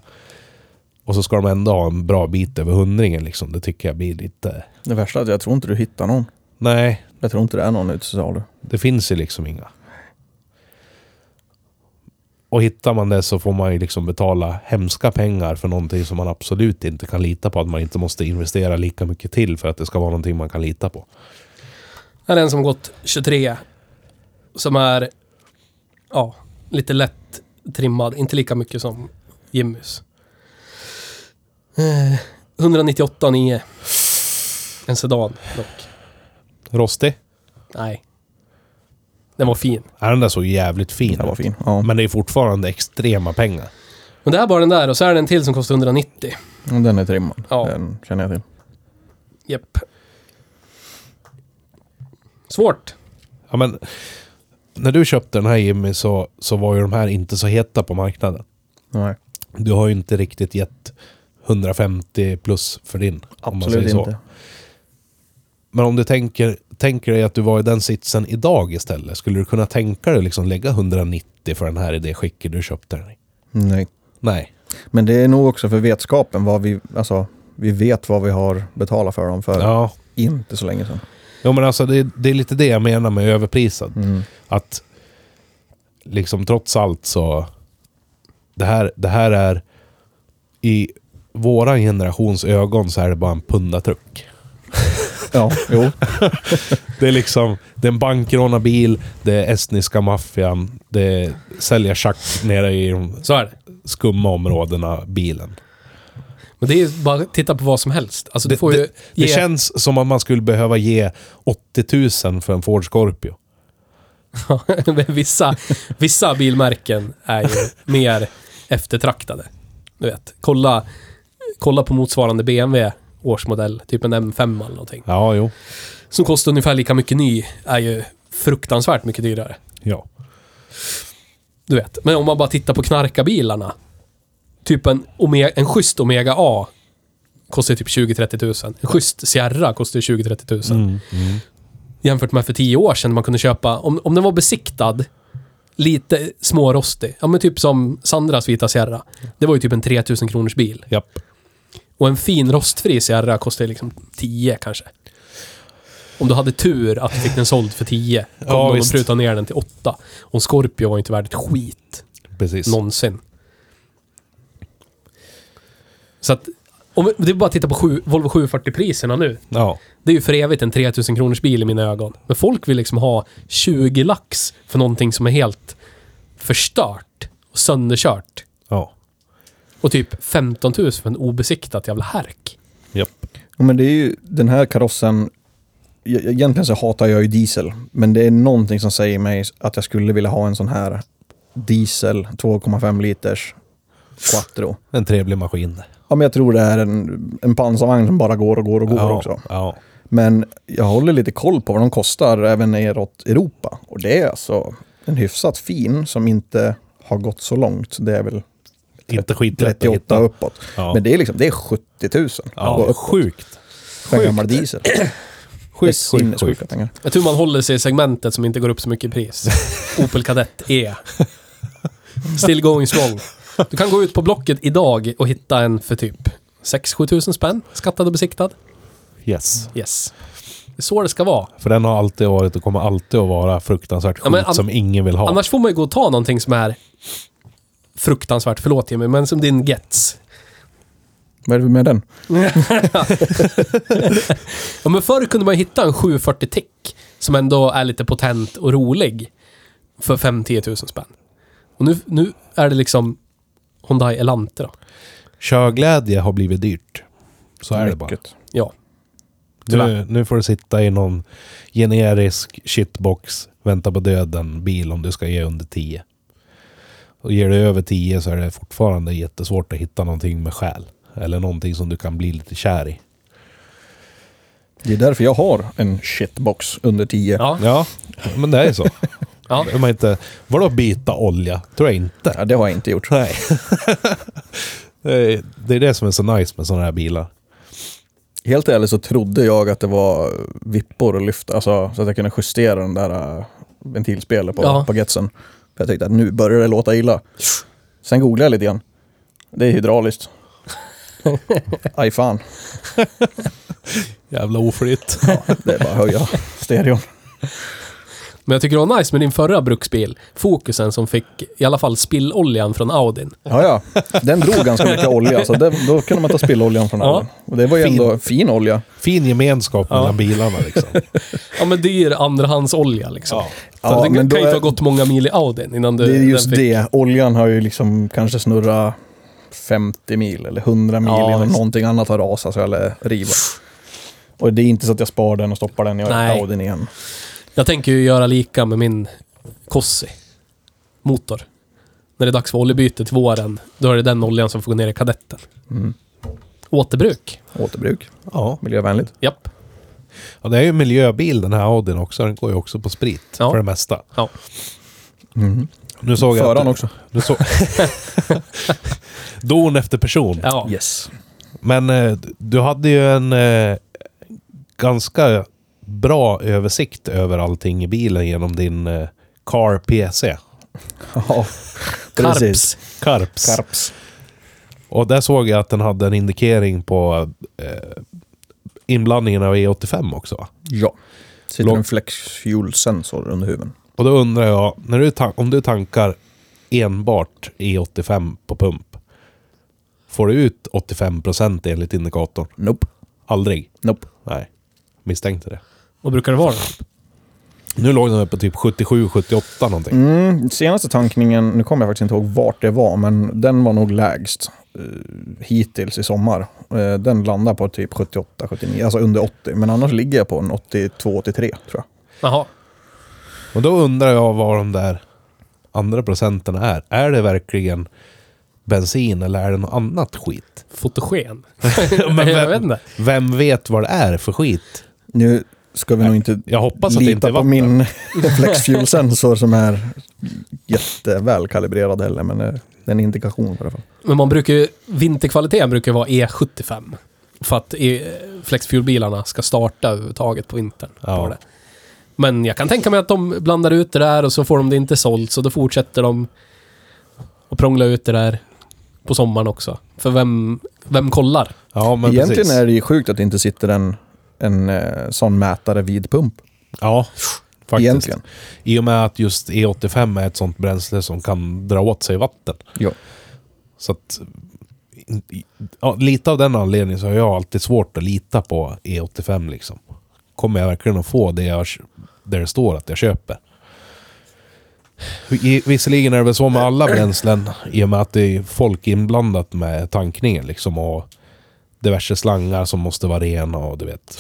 Och så ska de ändå ha en bra bit över hundringen liksom. Det tycker jag blir lite...
Det värsta är att jag tror inte du hittar någon.
Nej,
Jag tror inte det är någon ute till salu.
det finns ju liksom inga. Och hittar man det så får man ju liksom betala hemska pengar för någonting som man absolut inte kan lita på. Att man inte måste investera lika mycket till för att det ska vara någonting man kan lita på.
Här är en som gått 23. Som är, ja, lite lätt trimmad. Inte lika mycket som Jimmys. Eh, 198,9. En sedan dock.
Rostig?
Nej. Den var fin.
Ja, den där såg jävligt fin
Den var
ut.
fin. Ja.
Men det är fortfarande extrema pengar.
Men det här bara den där och så är det en till som kostar 190.
Men den är trimmad.
Ja.
Den känner jag till.
Japp. Svårt.
Ja, men, när du köpte den här Jimmy så, så var ju de här inte så heta på marknaden.
Nej,
Du har ju inte riktigt gett 150 plus för din. om man säger
absolut
så.
inte.
Men om du tänker, tänker dig att du var i den sitsen idag istället. Skulle du kunna tänka dig liksom lägga 190 för den här i det skicket du köpte den i?
Nej.
Nej.
Men det är nog också för vetskapen vad vi, alltså, vi vet vad vi har betalat för dem för
Ja.
inte så länge sedan.
Jo men alltså det, det är lite det jag menar med överprisad.
Mm.
[LAUGHS] Att liksom trots allt så... Det här, det här är... I våran generations ögon så är det bara en pundatruck.
Ja, jo.
Det är liksom, det är en bankrånarbil, det är estniska maffian, det är sälja schack nere i de
Så är det.
skumma områdena, bilen.
Men det är ju bara att titta på vad som helst. Alltså, du
Det-
får ju
Det
ge...
känns som att man skulle behöva ge 80 000 för en Ford Scorpio.
Men [LAUGHS] vissa, vissa bilmärken är ju mer eftertraktade. Du vet, kolla, kolla på motsvarande BMW årsmodell, typ en M5 eller någonting.
Ja, jo.
Som kostar ungefär lika mycket ny, är ju fruktansvärt mycket dyrare.
Ja.
Du vet. Men om man bara tittar på knarkarbilarna. Typ en, Omega, en schysst Omega A kostar ju typ 20-30 000. En schysst Sierra kostar ju 20-30 000.
Mm. Mm.
jämfört med för tio år sedan man kunde köpa, om, om den var besiktad, lite smårostig. Ja men typ som Sandras vita Sierra. Det var ju typ en 3000 kronors bil.
Japp.
Och en fin rostfri Sierra kostade liksom 10 kanske. Om du hade tur att du fick den såld för 10. Kom
Ja,
någon och
visst.
prutade ner den till 8. Och en Scorpio var ju inte värd ett skit.
Precis.
Någonsin. Så att, om vi- det är bara att titta på sju, Volvo 740-priserna nu.
Ja.
Det är ju för evigt en 3000 kronors bil i mina ögon. Men folk vill liksom ha 20 lax för någonting som är helt förstört och sönderkört.
Ja.
Och typ 15 000 för en obesiktat jävla härk.
Japp.
Ja, Men det är ju den här karossen. e- Egentligen så hatar jag ju diesel, men det är någonting som säger mig att jag skulle vilja ha en sån här diesel 2,5 liters quattro.
En trevlig maskin.
Ja, men jag tror det är en, en pansarvagn som bara går och går och går
ja.
också.
Ja.
Men jag håller lite koll på vad de kostar även neråt Europa. Och det är alltså en hyfsat fin som inte har gått så långt. Det är väl
Inte skitlätt att
38
hitta.
uppåt.
Ja.
Men det är liksom, det är 70 000.
Ja.
Och
Sjukt.
för en gammal diesel. Det är
Sjukt, sjukt, sjukt.
sinnessjuka pengar.
Jag tror man håller sig i segmentet som inte går upp så mycket i pris. Opel Kadett E. Still going strong. Du kan gå ut på Blocket idag och hitta en för typ 6-7 000 spänn. Skattad och besiktad.
Yes.
Yes. Det är så det ska vara.
För den har alltid varit och kommer alltid att vara fruktansvärt
Ja,
skit
men an-
som ingen vill ha.
Annars får man ju gå och ta någonting som är fruktansvärt, förlåt Jimmy, men som din Gets.
Vad är det med den?
Ja, men förr kunde man ju hitta en 740 Tick som ändå är lite potent och rolig för 5-10 000 spänn. Och nu, nu är det liksom Hyundai Elante då.
Körglädje har blivit dyrt. Så är det bara.
Mycket.
Ja.
Nu, nu får du sitta i någon generisk shitbox, vänta på döden, bil om du ska ge under 10. Och ger du över 10 så är det fortfarande jättesvårt att hitta någonting med själ. Eller någonting som du kan bli lite kär i.
Det är därför jag har en shitbox under 10.
Ja.
Ja, men det är så.
ja.
Om man inte, vadå byta olja? Tror jag inte.
Ja, det har jag inte gjort.
Nej. [LAUGHS] Det är- det är det som är så nice med sådana här bilar.
Helt ärligt så trodde jag att det var vippor och lyft, alltså så att jag kunde justera den där äh, ventilspelet på,
Ja.
på getsen. För jag tyckte att nu börjar det låta illa. Sen googlade jag lite grann. Det är hydrauliskt. Aj fan,
Jävla oflytt.
det är bara att höja stereon.
Men jag tycker det var nice med din förra bruksbil, Fokusen, som fick i alla fall spilloljan från Audin.
Ja, ja. Den drog ganska mycket olja, så den, då kunde man ta spilloljan från
Ja.
ja. Och det var ju
Fin.
ändå fin olja.
Fin gemenskap mellan bilarna liksom.
[LAUGHS] Ja men dyr andrahandsolja liksom.
Ja.
Så
Ja,
det
men
kan
då
ju inte
är-
ha gått många mil i Audin innan du...
det är just
Eh, den fick-
det. Oljan har ju liksom kanske snurrat 50 mil eller 100 mil
Ja,
innan
visst.
någonting annat har rasat eller rivat. Och det är inte så att jag sparar den och stoppar den i
Nej.
Audin igen.
Jag tänker ju göra lika med min Kossi. Motor. När det är dags för oljebyte till våren, då är det den oljan som får gå ner i kadetten.
Mm.
Återbruk.
Återbruk,
Ja.
miljövänligt.
Japp.
Och det är ju en miljöbil den här Audin också. Den går ju också på sprit
Ja.
för det mesta.
Ja. Mm-hmm.
Mm.
Nu såg jag
Föraren
att-
också.
Nu så... Don efter person.
Ja.
Yes.
Men eh, du hade ju en eh, ganska bra översikt över allting i bilen genom din eh, Car PC.
[LAUGHS] Ja, precis.
Karps.
Karps.
Karps.
Och där såg jag att den hade en indikering på eh, inblandningen av E85 också. va?
Ja. Sitter
Lång-
en flexfuel-sensor under huven.
Och då undrar jag, när du tan- om du tankar enbart E85 på pump, får du ut 85% enligt indikatorn?
Nope.
Aldrig?
Nope.
Nej, misstänkte det.
Vad brukar det vara då?
Nu låg den uppe på typ 77-78 någonting.
Mm, senaste tankningen, nu kommer jag faktiskt inte ihåg vart det var, men den var nog lägst. eh, hittills i sommar. Eh, den landar på typ 78-79, alltså under 80. Men annars ligger jag på en 82-83 tror jag.
Jaha.
Och då undrar jag vad de där andra procenten är. Är det verkligen bensin eller är det något annat skit?
Fotogen.
Men
jag
vem-
vet inte.
Vem vet vad det är för skit?
Nu ska vi nog inte
Jag hoppas att det inte
lita
är
på
vatten.
min
[LAUGHS]
flexfuel-sensor som är jätteväl kalibrerad heller, men eh, det är en indikation i alla fall.
Men man brukar ju, vinterkvaliteten brukar ju vara E75. För att eh, flexfuelbilarna ska starta överhuvudtaget på vintern.
Ja.
På det. Men jag kan tänka mig att de blandar ut det där och så får de det inte sålt, så då fortsätter de och prångla ut det där på sommaren också. För vem, vem kollar?
Ja, men
Egentligen
precis.
är det ju sjukt att det inte sitter en, en eh, sån mätare vid pump.
Ja, faktiskt.
Egentligen.
I och med att just E85 är ett sånt bränsle som kan dra åt sig vatten.
Ja.
Så att... in- i- Ja, lite av den anledningen så har jag alltid svårt att lita på E85 liksom. Kommer jag verkligen att få det jag, där det står att jag köper? I- Visserligen är det väl så med alla bränslen i och med att det är folk inblandat med tankningen liksom och diverse slangar som måste vara rena och du vet.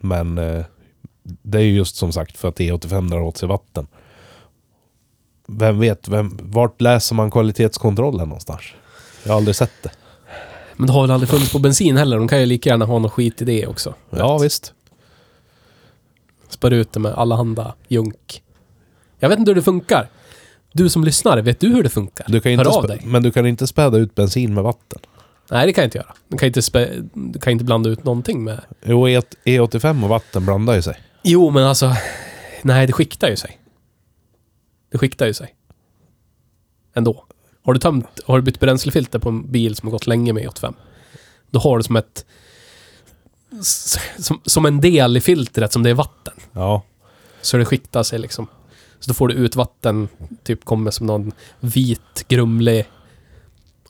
Men eh, det är ju just som sagt för att E85 drar åt sig vatten. Vem vet, vem, vart läser man kvalitetskontrollen någonstans? Jag har aldrig sett det.
Men det har väl aldrig funnits på bensin heller? De kan ju lika gärna ha någon skit i det också.
Ja, visst.
Spär ut det med allehanda junk. Jag vet inte hur det funkar. Du som lyssnar, vet du hur det funkar?
Du kan ju
Hör
inte
av
spä-
dig.
men du kan inte späda ut bensin med vatten.
Nej, det kan jag inte göra. Du kan inte, spä- du kan inte blanda ut någonting med...
Jo, E- E85 och vatten blandar ju sig.
Jo, men alltså... Nej, det skiktar ju sig. Det skiktar ju sig. Ändå. Har du tömt... Har du bytt bränslefilter på en bil som har gått länge med E85? Då har du som ett... s- Som, som en del i filtret som det är vatten.
Ja.
Så det skiktar sig liksom. Så då får du ut vatten, typ kommer som någon vit, grumlig...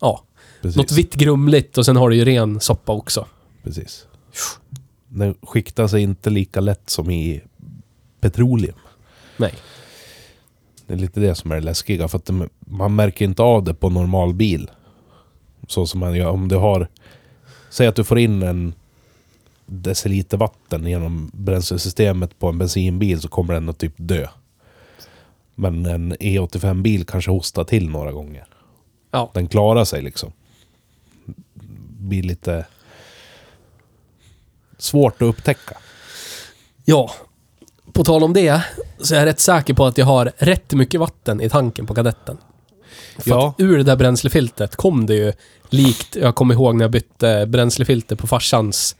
Ja,
Precis.
något vitt grumligt och sen har du ju ren soppa också.
Precis. Den skiktar sig inte lika lätt som i petroleum.
Nej.
Det är lite det som är det läskiga. För att det- man märker inte av det på normal bil. Så som man gör. Om du har... Säg att du får in en deciliter vatten genom bränslesystemet på en bensinbil så kommer den att typ dö. Men en E85-bil kanske hostar till några gånger.
Ja.
Den klarar sig liksom. Blir lite svårt att upptäcka.
Ja, på tal om det så är jag rätt säker på att jag har rätt mycket vatten i tanken på kadetten. För
Ja.
att ur det där bränslefiltret kom det ju likt, jag kommer ihåg när jag bytte bränslefilter på farsans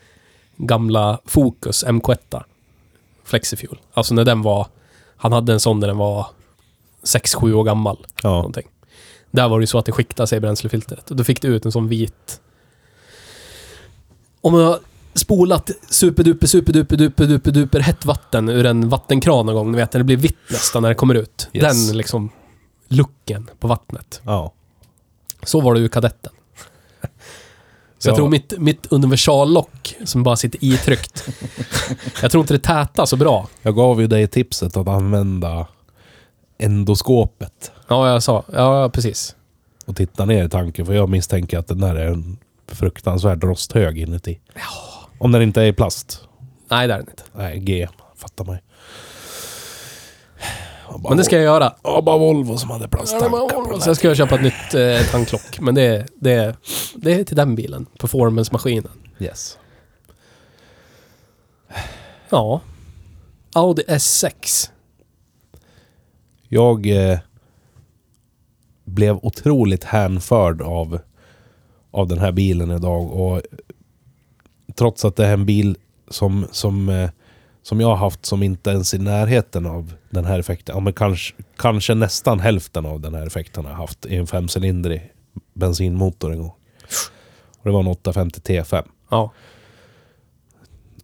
gamla Focus MK1. Flexifuel. Alltså när den var, han hade en sån när den var 6-7 år gammal.
Ja.
Någonting. Där var det ju så att det skiktade sig i bränslefiltret. Och då fick du ut en sån vit... Om jag har spolat superduper, superduper, duper, duper, duper hett vatten ur en vattenkran någon gång, ni vet, när det blir vitt nästan när det kommer ut.
Yes.
Den liksom lucken på vattnet.
ja.
Så var det ur kadetten. Så
Ja.
jag tror mitt, mitt universallock som bara sitter
[LAUGHS]
itryckt. jag tror inte det tätar så bra.
Jag gav ju dig tipset att använda endoskopet
Ja, jag sa. Ja, precis.
och titta ner i tanken. För jag misstänker att den där är en fruktansvärd rosthög inuti. Om den inte är i plast.
Nej, det är den inte.
Nej, G. Fattar mig. Jag bara-
Men det ska jag göra.
Det var bara Volvo som hade
Ja,
plasttankar på den
Sen
här.
ska jag köpa ett nytt eh, tanklock. Men det är, det, är, det är till den bilen. Performance-maskinen.
Yes.
Ja. Audi S6.
Jag eh, blev otroligt hänförd av, av den här bilen idag. Och eh, trots att det är en bil som, som, eh, som jag har haft som inte ens i närheten av den här effekten. Ja, men kanske, kanske nästan hälften av den här effekten har jag haft i en femcylindrig bensinmotor en gång. Och det var en 850 T5.
Ja.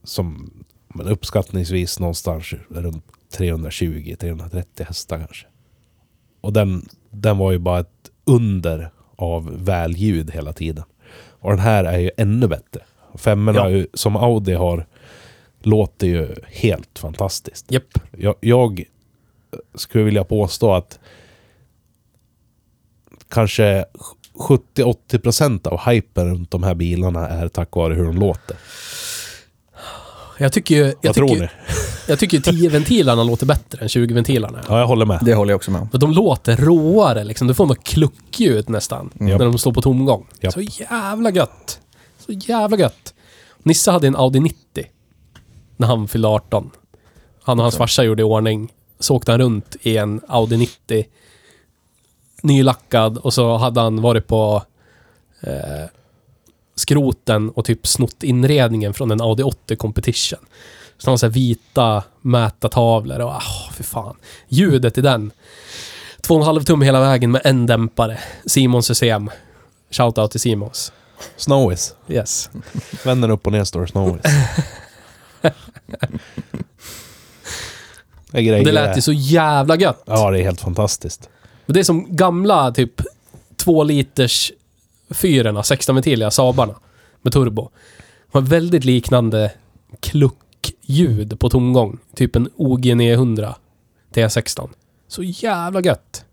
som men uppskattningsvis någonstans runt 320-330 hästar kanske. Och den, den var ju bara ett under av välljud hela tiden. Och den här är ju ännu bättre. Femmorna
Ja.
är ju, som Audi har låter ju helt fantastiskt.
Japp.
Jag, jag skulle vilja påstå att kanske 70-80% av hypen runt de här bilarna är tack vare hur de låter.
Jag tycker ju...
Vad
Jag
tror
tycker,
ni?
ju- jag tycker ju 10-ventilarna låter bättre än 20-ventilarna.
Ja, jag håller med.
Det håller jag också med om.
För de låter råare liksom. Du får något kluckljud nästan.
Japp.
När de står på tomgång.
Japp.
Så jävla gött. Så jävla gött. Nissa hade en Audi 90. När han fyllde 18. Han och hans farsa gjorde i ordning. Så åkte han runt i en Audi 90. Nylackad och så hade han varit på eh, skroten och typ snott inredningen från en Audi 80 competition. Så han har så här vita mätartavlor och ah, för fan. Ljudet i den. Två och en halv tum hela vägen med en dämpare. Simons system. Shoutout till Simons.
Snowies.
Yes.
Vänder upp och ner står det Snowies. Det, är grejer
Det lät ju så jävla gött.
Ja, det är helt fantastiskt.
Men Det är som gamla typ två liters fyrorna, 16-ventiliga Saabarna med turbo. De har väldigt liknande kluckljud på tomgång. Typ en OG 900 T16. Så jävla gött.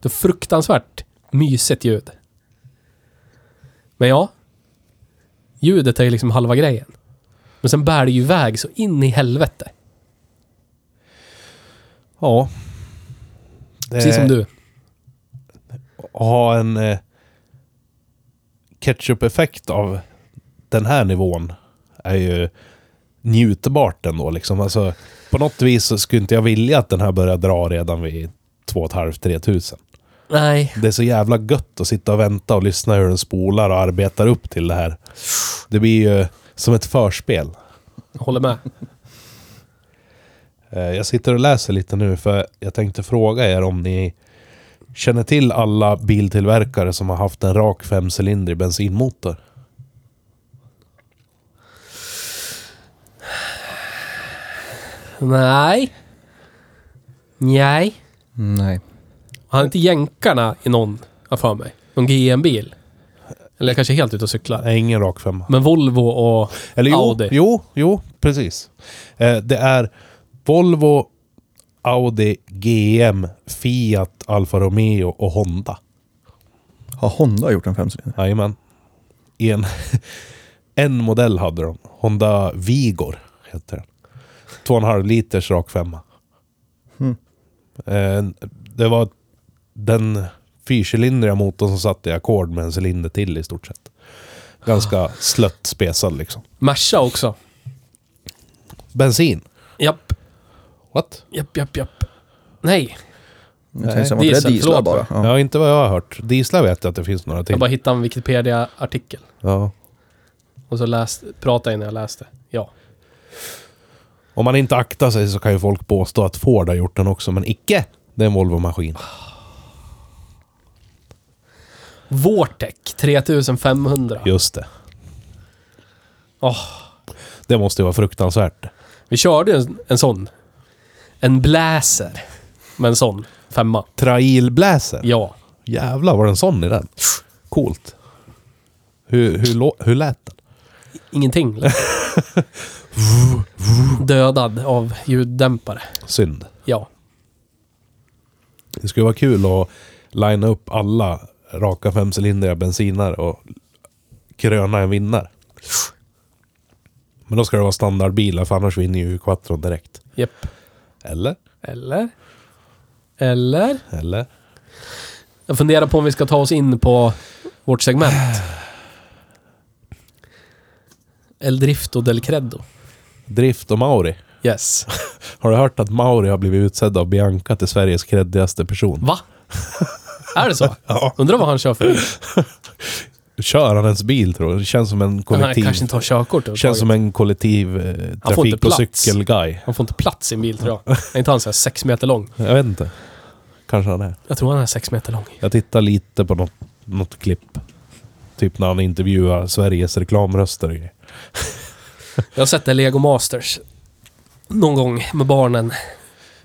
Det är fruktansvärt mysigt ljud. Men ja, ljudet är ju liksom halva grejen. Men sen bär det ju iväg så in i helvete.
Ja. Det
Precis som du.
ha en eh, ketchup-effekt av den här nivån är ju njutbart ändå. Liksom. Alltså, på något vis så skulle inte jag vilja att den här börjar dra redan vid 2,5-3 tusen.
Nej.
Det är så jävla gött att sitta och vänta och lyssna hur den spolar och arbetar upp till det här. Det blir ju som ett förspel.
Jag håller med.
Eh, Jag sitter och läser lite nu för jag tänkte fråga er om ni känner till alla biltillverkare som har haft en rak femcylindrig bensinmotor.
Nej. Nej.
Nej.
Har inte jänkarna i någon, har för mig? Någon GM-bil? Eller jag kanske är helt ute och cyklar.
Nej, ingen rak femma.
Men Volvo och...
Eller jo,
Audi.
jo, jo, precis. Eh, Det är Volvo, Audi, GM, Fiat, Alfa Romeo och Honda.
Har Honda gjort en femcylindrig?
Jajamän. I En, [LAUGHS] en modell hade de. Honda Vigor heter den. 2,5 liters rak femma. Hmm. Eh, Det var den fyrcylindriga motorn som satt i ackord med en cylinder till i stort sett. [SIGHS] Ganska slött spesad liksom.
Merca också.
Bensin.
Japp,
What?
japp, japp, japp. Nej,
Jag tänkte säga, var
Nej,
inte
diesel,
det dieslar
förlåt.
bara?
Ja.
Ja.
inte vad jag har hört. Dieslar vet jag att det finns några till.
jag bara hittade en Wikipedia-artikel.
Ja.
Och så läste, pratade jag innan jag läste. Ja.
Om man inte aktar sig så kan ju folk påstå att Ford har gjort den också, men icke. Det är en Volvo-maskin.
Vortec 3500.
Just det.
Åh.
Det måste ju vara fruktansvärt.
Vi körde ju en, en sån. En Blazer. Med en sån. Femma.
Trailbläser.
Ja.
Jävlar, var det en sån i den? Coolt. Hur, hur, lå- hur lät den?
Ingenting. liksom.
[LAUGHS]
Dödad av ljuddämpare.
Synd.
Ja.
Det skulle vara kul att linea upp alla raka femcylindriga bensinare och kröna en vinnare. Men då ska det vara standardbilar, för annars vinner ju Quattron direkt.
Japp.
Eller?
Eller? Eller?
Eller?
Jag funderar på om vi ska ta oss in på vårt segment. El Drifto del Credo.
Drift och Mauri.
Yes.
Har du hört att Mauri har blivit utsedd av Bianca till Sveriges creddigaste person?
Va? Är det så?
Ja.
Undrar vad han kör för bil.
Kör han ens bil tror du? Det känns som en
Han
kollektiv...
kanske inte har körkort
känns som
överhuvudtaget.
en kollektiv eh,
Han får inte
trafik och
plats.
cykelguy.
Han får inte plats i en bil tror jag. Är inte han så här sex meter lång?
Jag vet inte. Kanske han är.
Jag tror han är sex meter lång.
Jag tittar lite på något, något klipp. Typ när han intervjuar Sveriges reklamröster och grejer.
Jag har sett det i Lego Masters. Någon gång med barnen.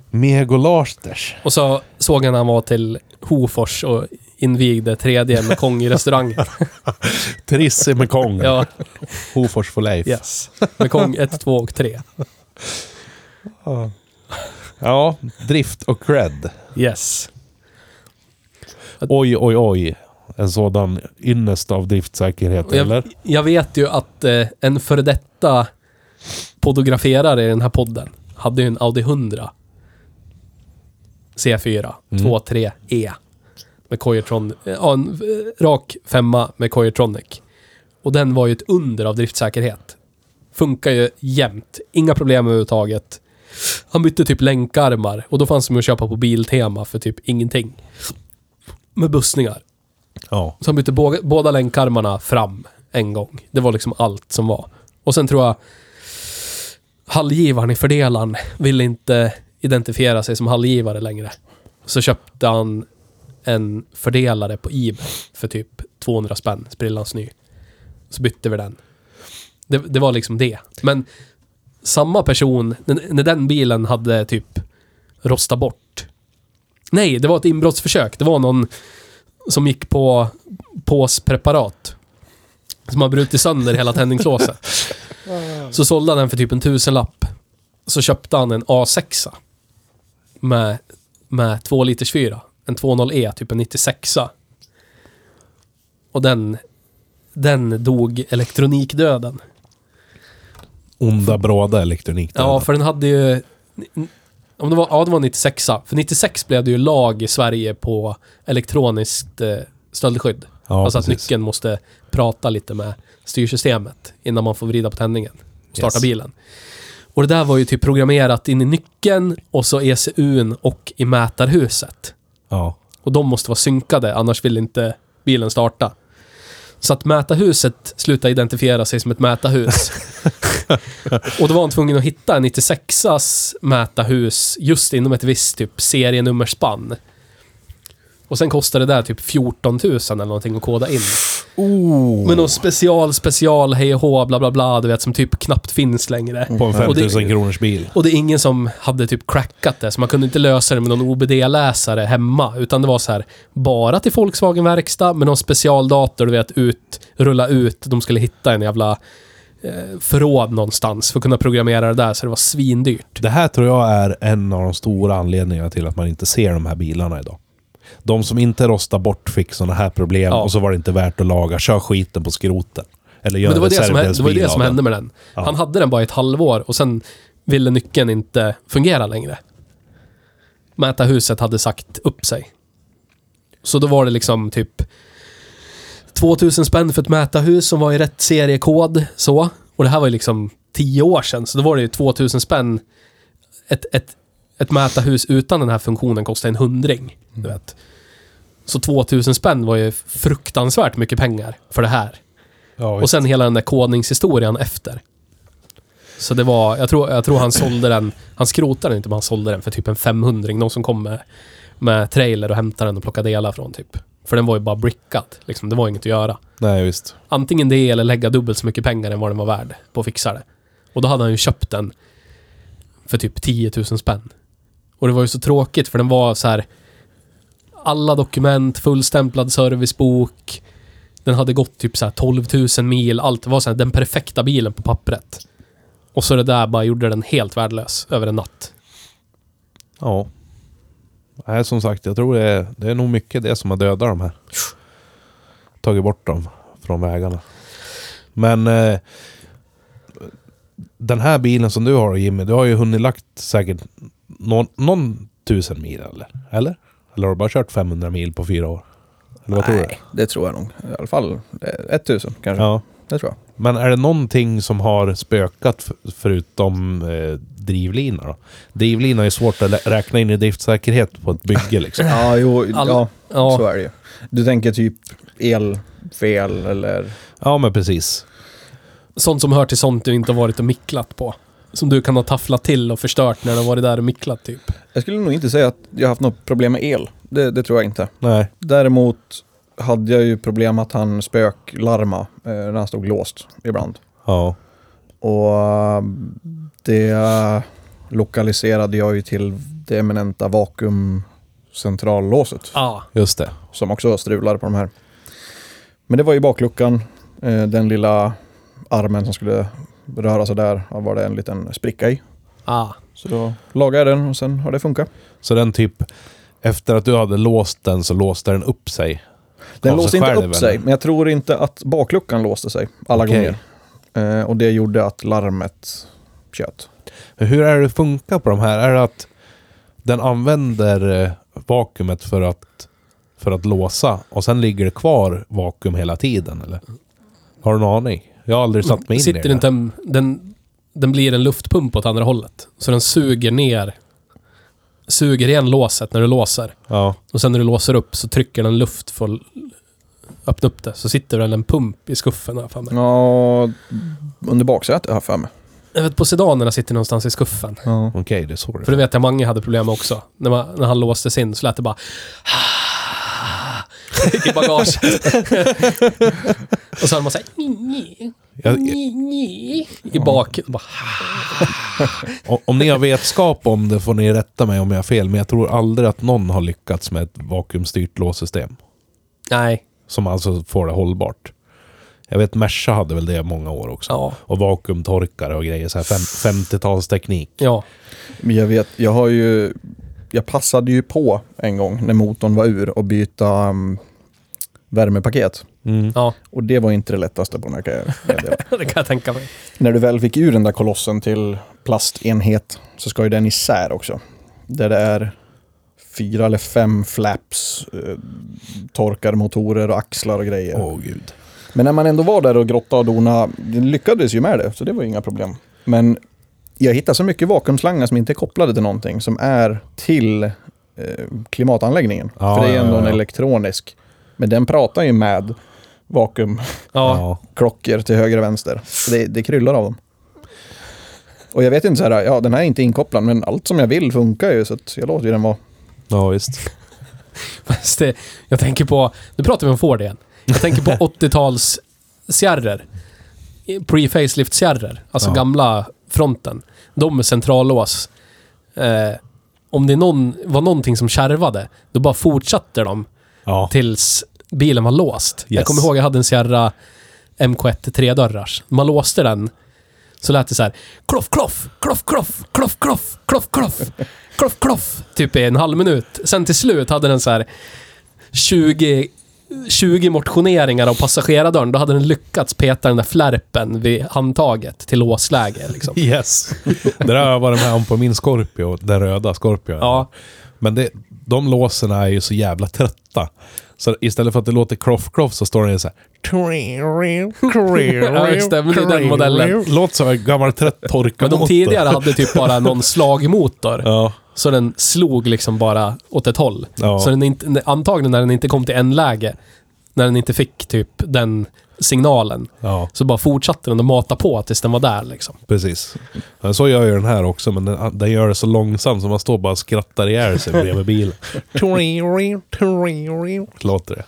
Mego Larsters.
Och så såg jag när han var till Hofors och invigde 3D med Kong i restaurangen.
Trisse med Kong.
Ja,
Hofors for life.
yes. Med Kong 1, 2 och 3.
Ja, drift och cred.
Yes.
Oj, oj, oj. en sådan ynnest av driftsäkerhet, eller?
Jag, jag vet ju att eh, en före detta podograferare i den här podden hade ju en Audi 100 C4
Mm.
23 E med Coyotron, eh, ja, en eh, rak femma med Coyotronic. Och den var ju ett under av driftsäkerhet. Funkar ju jämt. Inga problem överhuvudtaget. Han bytte typ länkarmar och då fanns de ju att köpa på Biltema för typ ingenting. Med bussningar.
Ja.
Så han bytte båda, båda länkarmarna fram en gång. Det var liksom allt som var. Och sen tror jag hallgivaren i fördelaren ville inte identifiera sig som hallgivare längre. Så köpte han en fördelare på Ebay för typ 200 spänn, sprillans ny. Så bytte vi den. Det, det var liksom det. Men samma person, när, när den bilen hade typ rostat bort. Nej, det var ett inbrottsförsök. Det var någon som gick på påspreparat. Som har brutit sönder hela tändningslåset. Så sålde han den för typ en tusenlapp. Så köpte han en A6. Med, med 2 liters fyra. En 20E, typ en 96. Och den, den dog elektronikdöden.
Onda bråda elektronik.
Ja, för den hade ju... Om det var, ja, det var 96 För 96 blev det ju lag i Sverige på elektroniskt eh, stöldskydd.
Ja,
alltså att
precis.
nyckeln måste prata lite med styrsystemet innan man får vrida på tändningen. och Starta
Yes.
bilen. Och det där var ju typ programmerat in i nyckeln och så ECUn och i mätarhuset.
Ja.
Och de måste vara synkade, annars vill inte bilen starta. Så att mätarhuset slutade identifiera sig som ett mätarhus. och då var han tvungen att hitta en 96as mätarhus just inom ett visst typ serienummerspann. Och sen kostade det där typ 14 000 eller någonting att koda in. Med någon special, special, hej och hå, bla bla bla, du vet, som typ knappt finns längre.
På en
Och det-
5000 kronors bil.
Och det är ingen som hade typ crackat det, så man kunde inte lösa det med någon OBD-läsare hemma. Utan det var så här, bara till Volkswagen verkstad med någon specialdator, du vet, ut, rulla ut. De skulle hitta en jävla eh, förråd någonstans för att kunna programmera det där, så det var svindyrt.
Det här tror jag är en av de stora anledningarna till att man inte ser de här bilarna idag. De som inte rostar bort fick sådana här problem
Ja.
och så var det inte värt att laga. Kör skiten på skroten. Eller gör
Men det var
en
det, som, hände- det, var ju
reservdelsbil
det som
av
hände med den.
Ja.
Han hade den bara i ett halvår och sen ville nyckeln inte fungera längre. Mätarhuset hade sagt upp sig. Så då var det liksom typ 2000 spänn för ett mätarhus som var i rätt seriekod. Så. Och det här var ju liksom 10 år sedan, så då var det ju 2000 spänn. Ett, ett, ett mätarhus utan den här funktionen kostade en hundring. Du
Mm.
vet. Så 2000 spänn var ju fruktansvärt mycket pengar för det här.
Ja,
Och sen hela den där kodningshistorien efter. Så det var, jag tror, jag tror han sålde den, han skrotade den inte men han sålde den för typ en 500 Någon som kom med, med trailer och hämtade den och plockade delar från typ. För den var ju bara brickad. Liksom, det var inget att göra.
Nej, visst.
Antingen det eller lägga dubbelt så mycket pengar än vad den var värd på att fixa det. Och då hade han ju köpt den för typ 10 000 spänn. Och det var ju så tråkigt för den var så här alla dokument, fullstämplad servicebok. Den hade gått typ så här 12 000 mil, allt. Det var så här, den perfekta bilen på pappret. Och så det där bara gjorde den helt värdelös över en natt.
Ja. Nej, som sagt, jag tror det är, det är nog mycket det som har dödat de här. Tagit bort dem från vägarna. Men eh, den här bilen som du har Jimmy, du har ju hunnit lagt säkert någon, någon tusen mil eller? Eller? Eller har du bara kört 500 mil på fyra år? Eller vad tror du?
Nej, det tror jag nog. I alla fall eh, 1000 kanske.
Ja.
Det tror jag.
Men är det någonting som har spökat f- förutom eh, drivlina då? Drivlina är svårt att lä- räkna in i driftsäkerhet på ett bygge liksom.
Ja, jo,
All-
ja,
Ja,
så är det ju. Du tänker typ elfel eller...
Ja men precis.
sånt som hör till sånt du inte har varit och micklat på. Som du kan ha tafflat till och förstört när du har varit där och micklat typ.
Jag skulle nog inte säga att jag haft något problem med el. Det, det tror jag inte.
Nej.
Däremot hade jag ju problem att han spöklarma eh, när han stod låst ibland.
Ja.
Och eh, det lokaliserade jag ju till det eminenta vakuumcentrallåset
Ah.
Just det.
som också strulade på de här. Men det var ju bakluckan, eh, den lilla armen som skulle röra sig där, ja, var det en liten spricka i.
Ah.
Så då lagade jag den och sen har det funkat.
Så den typ, efter att du hade låst den så låste den upp sig. Av
Den
sig
låste inte
själv,
upp sig,
eller?
men jag tror inte att bakluckan låste sig alla
Okej.
gånger. Eh, och det gjorde att larmet tjöt.
Hur är det funkar på de här? Är det att den använder eh, vakuumet för att, för att låsa och sen ligger det kvar vakuum hela tiden eller? Har du någon aning? Jag har aldrig satt mig in i
Sitter
det.
inte en, den, den blir en luftpump åt andra hållet. Så den suger ner, suger igen låset när du låser.
Ja,
Och sen när du låser upp så trycker den luft för att l- öppna upp det. Så sitter det en pump i skuffen här för mig.
Ja, under baksätet har jag för mig.
Jag vet på sedanerna sitter någonstans i skuffen.
Ja.
okej det är så det
För det vet jag Mange hade problem med också. När, man, när han låstes in så lät det bara... [LAUGHS] I bagaget. [LAUGHS] och så hade man såhär...
Jag-
I bak... Bara,
O- Om ni har vetskap om det får ni rätta mig om jag har fel, men jag tror aldrig att någon har lyckats med ett vakuumstyrt låssystem.
nej.
Som alltså får det hållbart. Jag vet Merca hade väl det många år också.
Ja.
Och vakuumtorkare och grejer, så här fem, 50-talsteknik.
Ja.
Men jag vet, jag har ju... Jag passade ju på en gång när motorn var ur och byta um, värmepaket.
Ja.
Och det var inte det lättaste på den här kan jag meddela.
[LAUGHS] Det kan jag tänka mig.
[LAUGHS] När du väl fick ur den där kolossen till plastenhet så ska ju den isär också. Där det är fyra eller fem flaps, eh, torkarmotorer och axlar och grejer.
Åh gud.
Men när man ändå var där och grottade och donade, det lyckades ju med det, så det var ju inga problem. Men jag hittar så mycket vakuumslangar som inte är kopplade till någonting, som är till eh, klimatanläggningen.
Ja,
För det är ju
ja,
ändå
ja,
en
ja.
elektronisk. Men den pratar ju med vakuumklockor
Ja.
Ja.
till höger och vänster. Så det, det kryllar av dem. Och jag vet inte så här, ja den här är inte inkopplad, men allt som jag vill funkar ju, så att jag låter ju den vara.
Ja, visst.
Fast det, jag tänker på... Nu pratar vi om Ford igen. Jag tänker på 80-tals Sierror. Pre-facelift Sierror. Alltså
Ja.
gamla fronten. De med centrallås. Eh, om det någon, var någonting som kärvade, då bara fortsatte de [LAUGHS]
Ja.
tills bilen var låst.
Yes.
Jag kommer ihåg jag hade en Sierra MK1 tredörrars. Man låste den så lät det så här. Kloff, kloff, kloff, kloff, kloff, kloff, kloff, kloff, kloff, kloff. Typ i en halv minut. Sen till slut hade den så här 20, 20 motioneringar av passagerardörren. Då hade den lyckats peta den där flärpen vid handtaget till låsläge. Liksom.
Yes. Det [LAUGHS] där har jag varit med om på min Scorpio, den röda Scorpion.
Ja.
Men det, de låsen är ju så jävla trötta. Så istället för att det låter croff croff så står det så här...
Ja, just det, men det är den modellen.
Låter som en gammal trött
Men
torkarmotor. [LAUGHS]
de tidigare hade typ bara någon slagmotor.
Ja.
Så den slog liksom bara åt ett håll.
Ja.
Så den inte, antagligen när den inte kom till en läge när den inte fick typ den signalen,
Ja,
så bara fortsatte den att mata på tills den var där liksom.
precis. Ja, Så gör ju den här också, men den, den gör det så långsamt så man står och bara och skrattar ihjäl sig bredvid
[LAUGHS]
bilen. Låter det.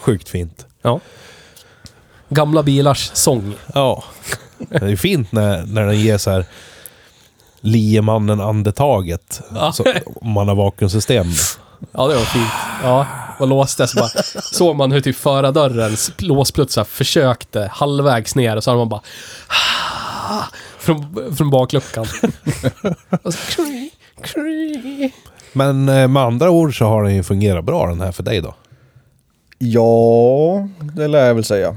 Sjukt fint.
Ja. Gamla bilars sång.
Ja. Det är fint när, när den ger så här liemannen andetaget.
Ja.
Så, om man har vakuumsystem.
Ja, det var fint. Ja, och låste så bara. Såg man hur typ förardörrens låsplutsar försökte halvvägs ner och så hade man bara... Från,
[LAUGHS]
från bakluckan. Och så, kri, kri.
Men eh, med andra ord så har den ju fungerat bra den här för dig då.
Ja, det lär jag väl säga.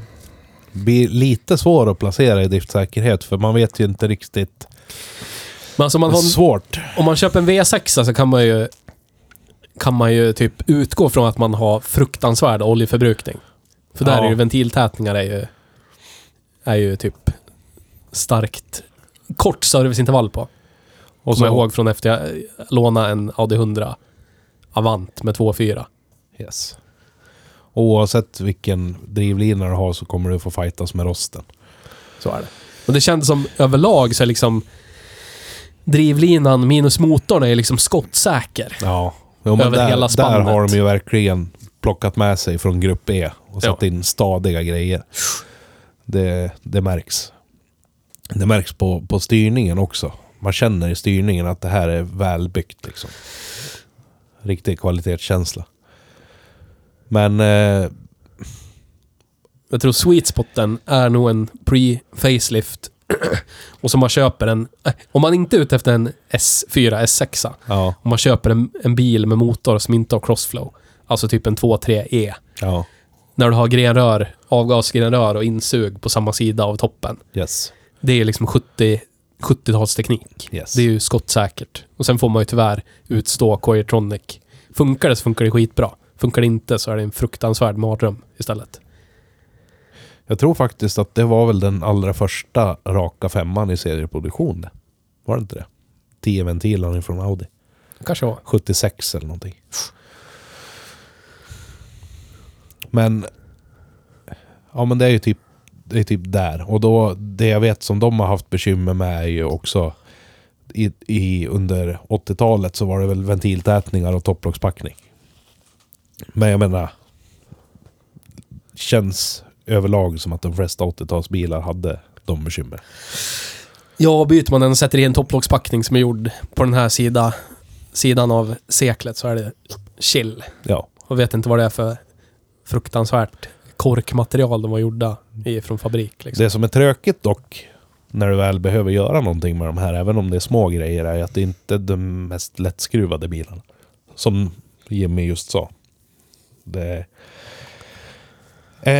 Blir lite svår att placera i driftsäkerhet för man vet ju inte riktigt.
Men alltså man
Det är
har en
svårt.
Om man köper en V6 så kan man ju kan man ju typ utgå från att man har fruktansvärd oljeförbrukning. För där
Ja.
är ju ventiltätningar är ju, är ju typ starkt kort serviceintervall på.
Och
Som jag ihåg från efter jag eh, lånade en AD100 Avant med 2.4.
Yes. Oavsett vilken drivlina du har så kommer du få fightas med rosten.
Så är det. Och det kändes som överlag så är liksom drivlinan minus motorn är liksom skottsäker.
Ja. Jo, men
Över
där,
hela
där
spannet.
har de ju verkligen plockat med sig från grupp E och
Ja.
satt in stadiga grejer. Det, det märks. Det märks på, på styrningen också. Man känner i styrningen att det här är välbyggt. Liksom. Riktig kvalitetskänsla. Men eh,
Jag tror sweet spoten är nog en pre-facelift. [CLEARS THROAT] och som man köper en... eh, Om man inte är ute efter en S4, S6.
ja,
Om man köper en, en bil med motor som inte har crossflow. Alltså typ en 2-3E.
Ja.
När du har grenrör, avgasgrenrör och insug på samma sida av toppen.
Yes.
Det är liksom 70, 70-talsteknik.
Yes.
Det är ju skottsäkert. Och sen får man ju tyvärr utstå Coirtronic. Funkar det så funkar det skitbra. Funkar det inte så är det en fruktansvärd mardröm istället.
Jag tror faktiskt att det var väl den allra första raka femman i serieproduktion. det. Var det inte det? 10 ventiler från Audi.
Kanske var.
76 eller någonting. Men... Ja men det är ju typ, det är typ där. Och då, det jag vet som de har haft bekymmer med är ju också... I, i, under 80-talet så var det väl ventiltätningar och topplockspackning. Men jag menar... Känns överlag som att de flesta 80-talsbilar hade de bekymmer.
Ja, byter man den och sätter i en topplockspackning som är gjord på den här sida, sidan av seklet så är det chill.
Ja.
Och vet inte vad det är för fruktansvärt korkmaterial de var gjorda i från fabrik. Liksom.
Det som är tråkigt dock, när du väl behöver göra någonting med de här, även om det är små grejer, är att det inte är de mest lättskruvade bilarna. Som Jimmy just sa. Det är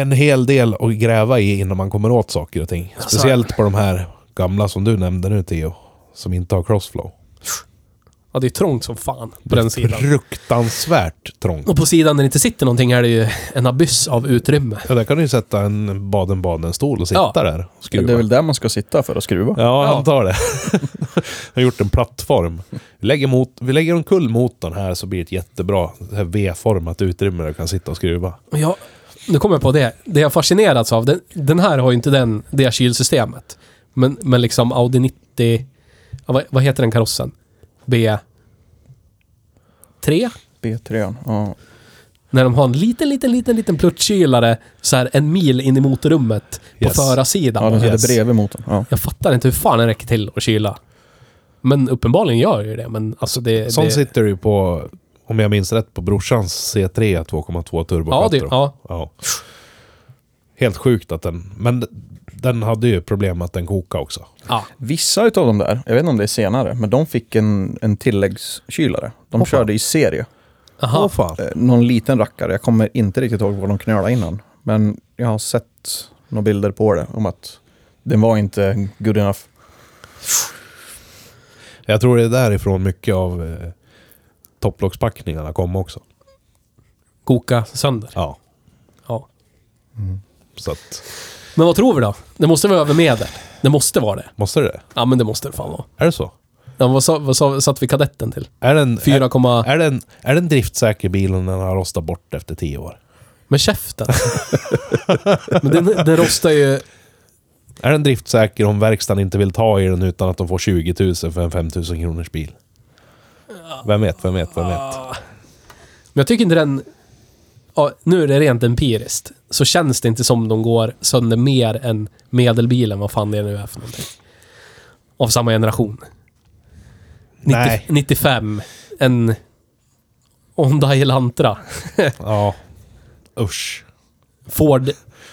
en hel del att gräva i innan man kommer åt saker och ting.
Alltså-
Speciellt på de här gamla som du nämnde nu Theo, som inte har crossflow.
Ja, det är trångt som fan på
Det är
den sidan.
Fruktansvärt trångt.
Och på sidan där det inte sitter någonting är det ju en abyss av utrymme.
Ja, där kan du ju sätta en Baden-Baden-stol och sitta
Ja.
där och
Ja,
skruva.
det är väl där man ska sitta för att skruva.
Ja, jag
Ja.
antar det. [LAUGHS] Jag har gjort en plattform. Vi lägger, mot, vi lägger omkull motorn här så blir det ett jättebra så här V-format utrymme där du kan sitta och skruva.
Och jag, nu kommer jag på det. Det jag fascinerats av, den, den här har ju inte den, det kylsystemet. Men, men liksom Audi 90... Ja, vad, vad heter den karossen? B... 3?
B3. Ja.
När de har en liten, liten, liten, liten pluttkylare så här en mil in i motorrummet på
Yes.
förarsidan.
ja, den sitter
Yes.
bredvid motorn. Ja.
Jag fattar inte hur fan den räcker till att kyla. Men uppenbarligen gör ju det. Men alltså det...
Sån
det,
sitter du ju på, om jag minns rätt, på brorsans C3 2,2 turbo.
ja, det, ja,
Ja. Helt sjukt att den... Men d- den hade ju problem att den kokade också.
ja.
Vissa av dem där, jag vet inte om det är senare, men de fick en, en tilläggskylare. De
Åh, fan.
körde i serie.
Aha.
Åh, fan.
Eh, någon liten rackare, jag kommer inte riktigt ihåg vad de knölade innan. Men jag har sett några bilder på det om att den var inte good enough.
Jag tror det är därifrån mycket av eh, topplockspackningarna kom också.
Koka sönder.
Ja.
Ja.
Så att,
Men vad tror vi då? Det måste vara över medel. Det måste vara det.
måste det?
Ja, men det måste det fan vara.
Är det så?
Ja, vad, sa, vad sa, satt vi kadetten till?
Är den, är,
4, komma-
är den, är den driftsäker bil om den har rostat bort efter tio år?
med käften. men den, den rostar ju...
Är den driftsäker om verkstaden inte vill ta i den utan att de får 20 000 för en 5 000 kronors bil? Vem vet, vem vet, vem vet?
Men jag tycker inte den... Ja, nu är det rent empiriskt. Så känns det inte som de går sönder mer än medelbilen, vad fan det nu är för någonting. Av samma generation. 90,
Nej.
95. En Honda Elantra.
Ja. Usch.
Ford,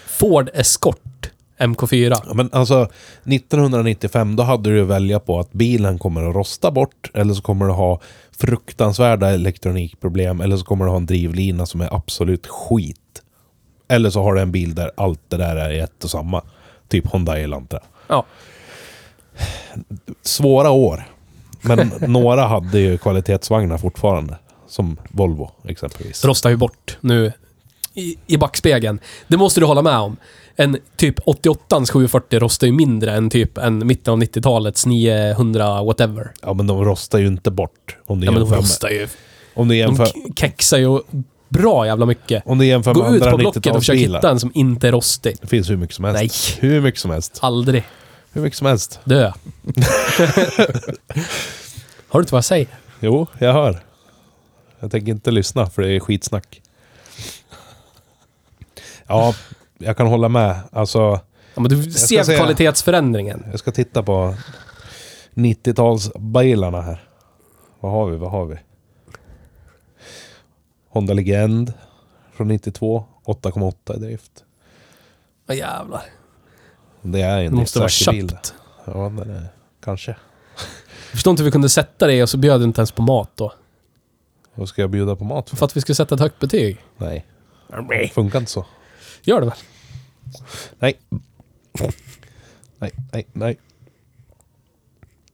Ford Escort MK4.
Ja, Men alltså, 1995 då hade du att välja på att bilen kommer att rosta bort eller så kommer du ha fruktansvärda elektronikproblem eller så kommer du ha en drivlina som är absolut skit. Eller så har du en bil där allt det där är ett och samma. Typ Honda Elantra.
Ja.
svåra år. Men [LAUGHS] några hade ju kvalitetsvagnar fortfarande. Som Volvo exempelvis.
rostar ju bort nu i, i backspegeln. Det måste du hålla med om. En typ 88 740 rostar ju mindre än typ en mitten av 90-talets 900 whatever.
Ja men de rostar ju inte bort. Om du
Ja, men
jämför,
de
med,
rostar ju.
om du
De
jämför,
k- kexar ju bra jävla mycket.
om du jämför med
Gå ut
andra
på Blocket och försök
90-talsbilar.
hitta en som inte är rostig.
Det finns hur mycket som helst.
Nej.
Hur mycket som helst.
Aldrig.
Hur mycket som helst. [LAUGHS]
Dö. Hör du inte vad jag säger?
Jo, jag hör. Jag tänker inte lyssna för det är skitsnack. Ja, jag kan hålla med. Alltså,
Ja, men du
ska
ser
säga-
kvalitetsförändringen.
jag ska titta på 90-talsbilarna här. Vad har vi? Vad har vi? Honda Legend från 92. 8,8 i drift.
Vad jävlar.
Det är en
Det måste vara
driftsäker bil.
köpt.
Ja, den är, kanske.
Förstår inte hur vi kunde sätta det och så bjöd du inte ens på mat då.
Vad ska jag bjuda på mat för?
För att vi ska sätta ett högt betyg.
Nej. Funkar inte så.
Gör det väl?
Nej. Nej, nej, nej.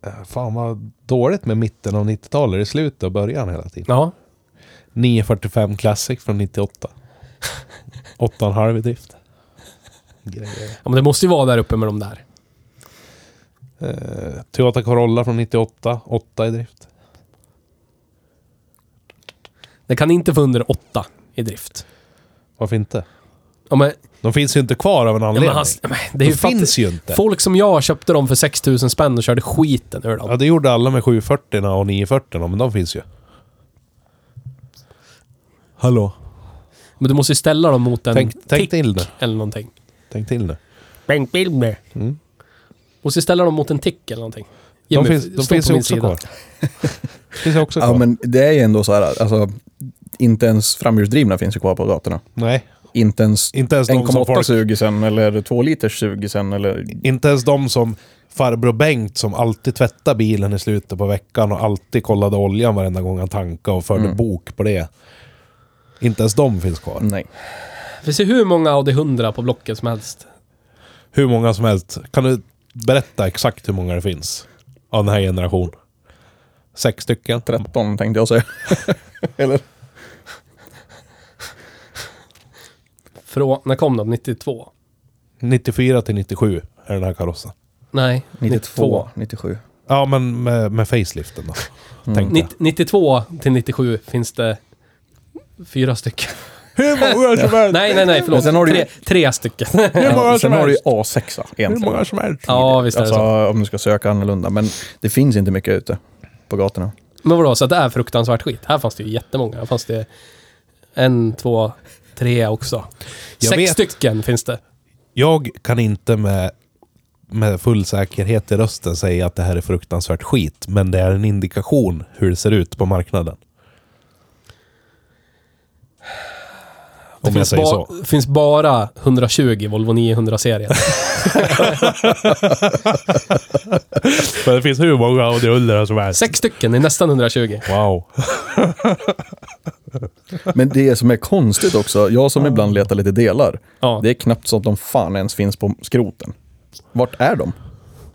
Äh, Fan vad dåligt med mitten av 90-talet. Det är slutet och början hela tiden.
Ja.
945 Classic från
[LAUGHS]
98. 8,5 i drift. Grejer.
ja men det måste ju vara där uppe med de där.
Eh, Toyota Corolla från 98. 8 i drift.
Det kan inte få under åtta i drift.
Varför inte?
Ja, men,
De finns ju inte kvar av en
ja, men,
anledning.
han, ja, men det är ju
de finns
fattigt.
ju inte.
Folk som jag köpte dem för 6000 spänn och körde skiten ur dem.
Ja, det gjorde alla med 740 och 940 men de finns ju. Hallå?
Men du måste ju ställa dem mot en
Tänk, tänk
tick
till nu.
eller någonting.
Tänk till nu.
Bengt Wilmer.
Mm.
Måste ställa dem mot en tick eller någonting.
De
Jimmy,
finns, de
stå
finns
på
ju
min
också
sida. [LAUGHS]
kvar. De finns ju också kvar.
Ja, men det är ju ändå så här, alltså, inte ens framhjulsdrivna finns ju kvar på gatorna.
Nej,
Inte ens
inte ens, de som
1,8
folk,
sugisen eller 2 liters sugisen eller...
inte ens de som farbror Bengt som alltid tvättade bilen i slutet på veckan och alltid kollade oljan varenda gång han tankade och förde
Mm.
bok på det. Inte ens de finns kvar.
Nej.
Det finns ju hur många Audi 100 på Blocket som helst.
Hur många som helst. Kan du berätta exakt hur många det finns? Av den här generationen. Sex stycken?
13
[LAUGHS]
tänkte jag säga. eller?
Från, när kom de? 92?
94 till 97 är den här karossen.
Nej,
92, 97.
Ja, men med, med faceliften då. Tänkte jag.
90, 92 till 97 finns det
[LAUGHS]
fyra stycken.
Hur många som helst!
Nej, nej, nej, förlåt.
Men sen har du ju-
tre, tre stycken.
Hur många
Ja, sen
som
har du ju
helst!
A6
Hur många
egentligen.
som helst!
ja, visst är det
Alltså
så.
om du ska söka annorlunda. Men det finns inte mycket ute på gatorna.
Men vadå, så att det är fruktansvärt skit? Här fanns det ju jättemånga. Här fanns det en, två, tre också.
Jag
Sex
vet.
stycken finns det.
[LAUGHS] Jag kan inte med, med full säkerhet i rösten säga att det här är fruktansvärt skit, men det är en indikation hur det ser ut på marknaden.
Det
Om jag
finns,
säger
ba-
så.
finns bara 120
[LAUGHS]
Volvo 900-serien.
Men det finns hur många Audi 100 som helst.
Sex stycken är nästan 120.
Wow.
Men det som är konstigt också, jag som ibland letar lite delar.
Ja.
Det är knappt så att de fan ens finns på skroten. Vart är de?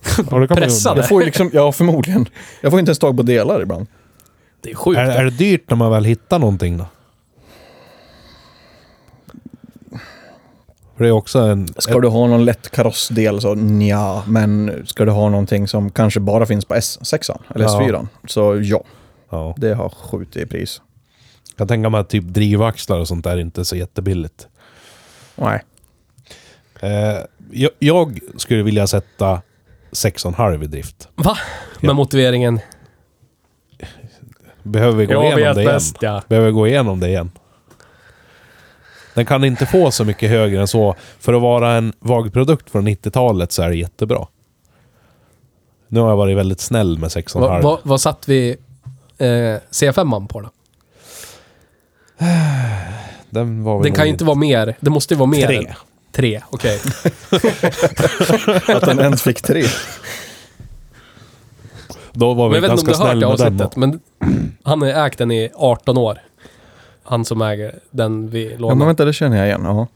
Ja, det kan man ju
Pressade.
undra.
Jag får ju liksom, ja förmodligen. Jag får inte ens tag på delar ibland.
Det är sjukt.
Är, är det dyrt när man väl hittar någonting då? För det är också en...
Ska du ha någon lätt karossdel så nja, men ska du ha någonting som kanske bara finns på S6 eller
Ja.
S4 så ja,
Ja.
det har skjutit i pris.
Jag kan tänka mig att typ drivaxlar och sånt där inte är så jättebilligt.
Nej.
Eh, jag, jag skulle vilja sätta 6,5 i drift.
Va? Med
Ja.
motiveringen.
Behöver vi gå
Jag
igenom
vet
det igen?
bäst, ja.
Behöver vi gå igenom det igen? Den kan inte få så mycket högre än så. För att vara en vagprodukt från 90-talet så är det jättebra. Nu har jag varit väldigt snäll med 6,5.
Va, va, vad satt vi eh, C5an på då?
Den, var väl
Den kan ju inte vara mer. Det måste ju vara mer.
Tre.
än- Tre, okej.
Att den ens fick tre.
Då var
Men
vi
jag vet inte om
ganska
du har hört det
snälla med den. då.
avsnittet, men han har ju ägt den i 18 år. Han som äger den vi
Ja, men
lånade.
vänta, det känner jag igen. Ja.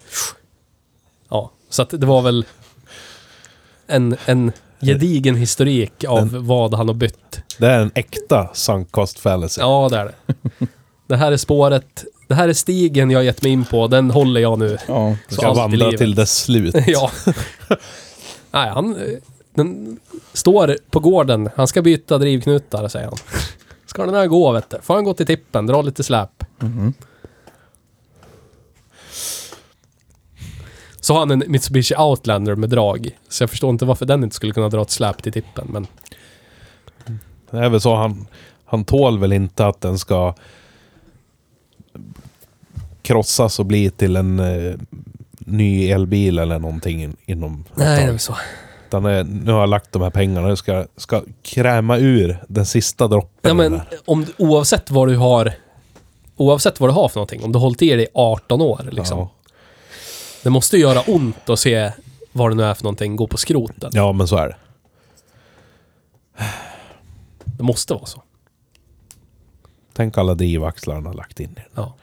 Ja, så att det var väl en, en gedigen historik av vad han har bytt.
Det är en äkta sunk cost fallacy.
Ja,
[LAUGHS]
det är det. Det här är spåret. Det här är stigen jag har gett mig in på. Den håller jag nu.
ja.
Du
Så
ska
allt i
vandra
livet.
till dess slut.
[LAUGHS] ja. Nej, han eh, den står på gården. Han ska byta drivknutar, säger han. Ska den här gå, vet du? Får han gå till tippen, dra lite släp. Så har han en Mitsubishi Outlander med drag. Så jag förstår inte varför den inte skulle kunna dra ett släp till tippen, men...
Det är väl så han, han tål väl inte att den ska krossas och bli till en eh, ny elbil eller någonting in, inom ett
Nej, det
tag.
är så.
Utan eh, nu har jag lagt de här pengarna och ska, ska kräma ur den sista droppen.
Ja, men
där.
om, du- oavsett vad du har... Oavsett vad du har för någonting, om du har hållit i dig i 18 år liksom.
Ja.
Det måste ju göra ont att se vad det nu är för någonting gå på skroten.
ja, men så är det.
Det måste vara så.
Tänk alla drivaxlar han har lagt in i den.
Ja.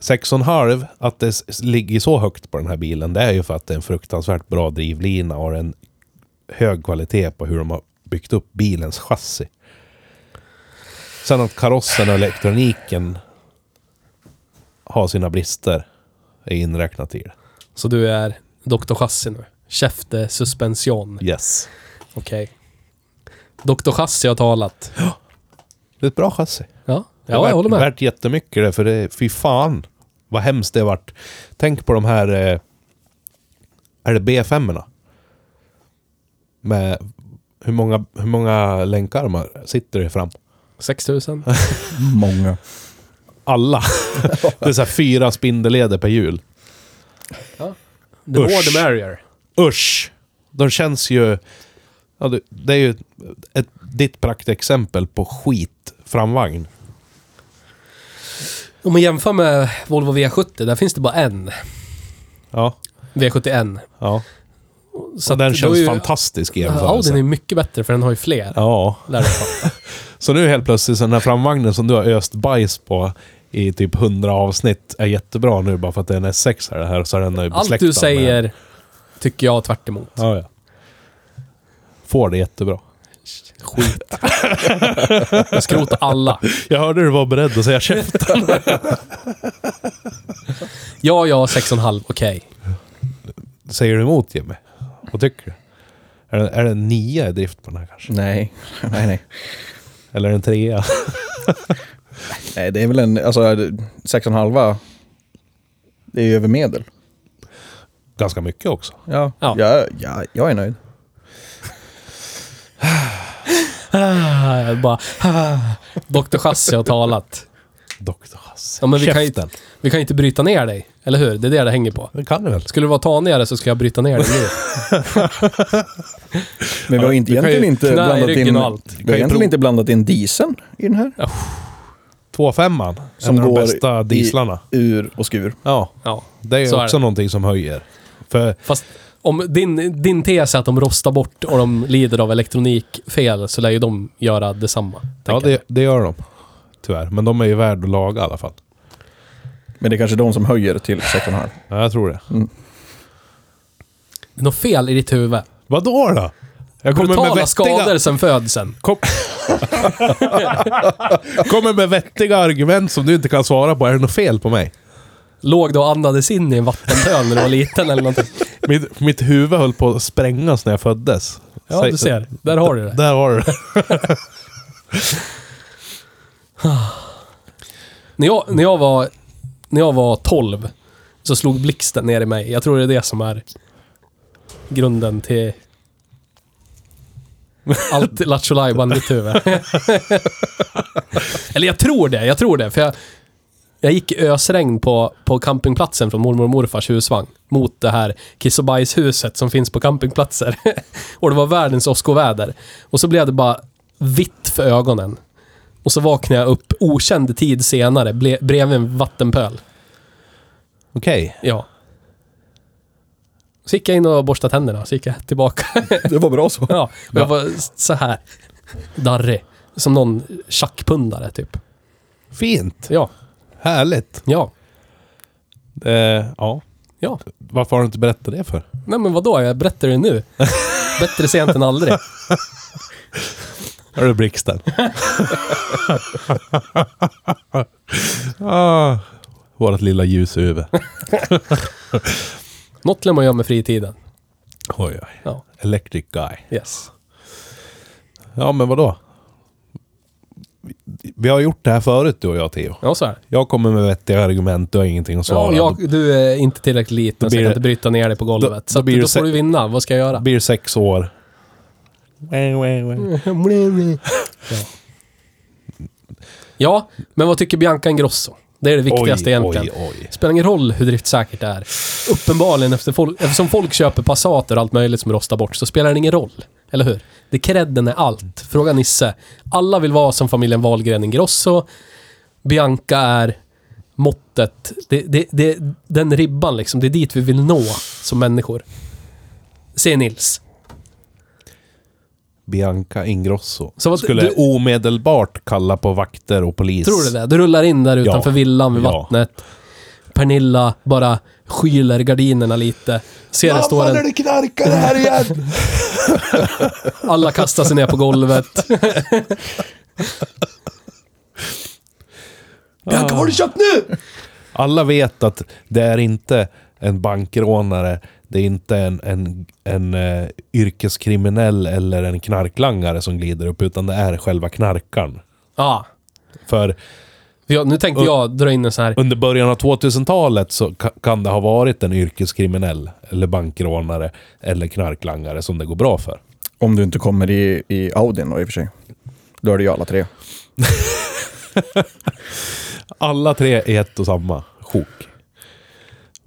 6,5, att det s- ligger så högt på den här bilen, det är ju för att det är en fruktansvärt bra drivlina och en hög kvalitet på hur de har byggt upp bilens chassi. Sen att karossen och elektroniken har sina brister är inräknat i det.
Så du är Dr. Chassi nu? Käfte suspension.
Yes.
Okej. Dr. Chassi har talat.
Det är ett bra chassi.
Ja,
Det är
ja jag håller med.
värt jättemycket det, för det, fy fan vad hemskt det vart. Tänk på de här, eh, är det B5 erna Med hur många, hur många länkarmar sitter det fram?
6000.
Många.
Alla. [LAUGHS] det är så här fyra spindelleder per hjul.
The more
Usch.
the merrier.
Usch! De känns ju... Ja, det- det är ju ett, ett, ditt praktexempel på skit framvagn.
Om man jämför med Volvo V70, där finns det bara en.
Ja.
V71.
ja.
Så
Och den
att
känns
då är ju-
fantastisk i
Audin
jämförelse.
är mycket bättre för den har ju fler.
Ja.
Lär
[LAUGHS]
jag fatta.
Så nu helt plötsligt, så den här framvagnen som du har öst bajs på i typ 100 avsnitt är jättebra nu bara för att det är en S6 här, här och så är den ju
Allt
besläktad
du
med-
säger tycker jag tvärt emot.
Ja, ja. Får det jättebra.
Skit. Jag skrotar alla.
Jag hörde du var beredd att säga käften. [LAUGHS]
Ja, ja, 6,5. Okej.
Säger du emot Jimmy? Vad tycker du? Är det, är det en nia i drift på den här kanske?
Nej. nej, nej.
Eller en trea? [LAUGHS]
Nej, det är väl en... Alltså, 6,5. Det är ju över medel.
Ganska mycket också.
Ja,
Ja.
ja. Jag, jag, jag är nöjd.
Ah, jag bara... [LAUGHS] Ah, Dr. Chassi har talat.
Doktor Hasse.
Ja, men vi kan ju-
Käften.
Vi kan ju inte bryta ner dig, eller hur? Det är det det hänger på.
Det kan du väl?
Skulle du vara tanigare så ska jag bryta ner dig
[LAUGHS]
nu.
Men vi har inte,
du kan ju
egentligen inte
knä i
blandat
ryggen
in...
och allt.
kan
Du
Vi har
ju prova.
egentligen inte blandat in dieseln i den här.
Två femman.
Som
en av de
går
bästa
i-
dieslarna.
Ur och skur.
Ja,
Ja.
det är
Så är
också
det.
någonting som höjer. För
Fast om din, din tes är att de rostar bort och de lider av elektronikfel så lär ju de göra detsamma.
Ja,
tänker jag.
det, det gör de. Tyvärr. Men de är ju värda att laga i alla fall.
Men det är kanske de som höjer till 6,5.
Ja, jag tror det.
Mm. Det är något fel i ditt huvud.
Vadå då? Jag kommer med vettiga,
Brutala skador sen födseln.
Kom... kommer med vettiga argument som du inte kan svara på. Är det något fel på mig?
Låg du och andades in i en vattenpöl när du var liten eller någonting?
[LAUGHS] Mitt, mitt huvud höll på att sprängas när jag föddes.
Ja,
Säg-
du ser. Där har du det.
Där har du det.
När jag, när jag, var, när jag var 12 så slog blixten ner i mig. Jag tror det är det som är grunden till allt Lattjo Lajban i mitt huvud. Eller jag tror det, jag tror det. För jag, jag gick i ösregn på, på campingplatsen från mormor och morfars husvagn. Mot det här kiss och bajshuset som finns på campingplatser. [LAUGHS] och det var världens åskoväder. Och så blev det bara vitt för ögonen. Och så vaknade jag upp okänd tid senare ble, bredvid en vattenpöl.
Okej.
Ja. Så gick jag in och borstade tänderna och så gick jag tillbaka.
[LAUGHS]
[LAUGHS]
Det var bra så.
ja, och jag var så här darrig. Som någon tjackpundare typ.
Fint.
Ja,
Härligt.
ja,
Eh, ja.
ja.
Varför har du inte berättat det för?
Nej men vadå, jag berättar det
[LAUGHS]
nu. Bättre sent än aldrig.
Är det
[LAUGHS]
blixten? ah, vårat lilla ljus i huvudet.
Något lär man göra med fritiden.
Oj, oj.
Ja,
Electric guy.
yes.
Ja, men vadå? Vi har gjort det här förut, du och jag, Theo.
Ja, så är det.
Jag kommer med vettiga argument, du har ingenting att svara.
Ja, jag, du är inte tillräckligt liten så
blir
jag kan
det-
inte bryta ner dig på golvet.
då
så att
blir det
då får
se-
du vinna. Vad ska jag
Det
göra?
blir sex år.
Ja, men vad tycker Bianca Ingrosso? Det är det viktigaste egentligen.
Oj, oj, oj.
Spelar ingen roll hur driftsäkert det är. Uppenbarligen, efter folk, eftersom folk köper Passater och allt möjligt som rostar bort, så spelar det ingen roll. Eller hur? Det credden är allt. Fråga Nisse. Alla vill vara som familjen Wahlgren Ingrosso. Bianca är måttet. Det, det, det, den ribban liksom. Det är dit vi vill nå som människor. Se Nils.
Bianca Ingrosso.
Så vad-
Skulle
du-
omedelbart kalla på vakter och polis.
Tror du det? Du rullar in där utanför
Ja.
villan vid
Ja.
vattnet. Pernilla bara skyler gardinerna lite. Ser det står en...
det knarkar här
[LAUGHS]
igen!
Alla kastar sig ner på golvet.
Bianca, vad har du köpt nu? Alla vet att det är inte en bankrånare, det är inte en, en, en eh, yrkeskriminell eller en knarklangare som glider upp, utan det är själva knarkaren.
Ja.
För
Jag, nu tänkte jag dra in en sån här...
under början av 2000-talet så ka- kan det ha varit en yrkeskriminell, eller bankrånare, eller knarklangare som det går bra för.
Om du inte kommer i, i Audin då i och för sig. Då är det ju alla tre.
Alla tre är ett och samma sjok.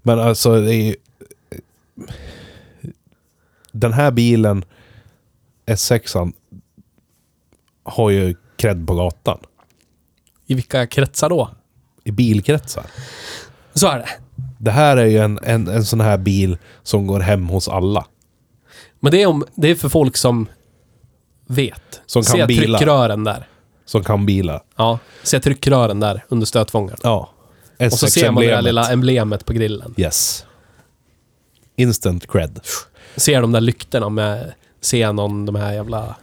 Men alltså, det är ju... Den här bilen, S6an, har ju cred på gatan.
I vilka kretsar då?
I bilkretsar.
Så är det.
Det här är ju en, en, en sån här bil som går hem hos alla.
Men det är, om, det är för folk som vet.
Som kan
Ser
bilar.
tryckrören där.
Som kan bilar.
Ja. Ser tryckrören där under stötfångaren.
Ja.
Och så ser man det där lilla emblemet på grillen.
Yes. Instant cred.
Ser de där lyktorna med xenon, de här jävla...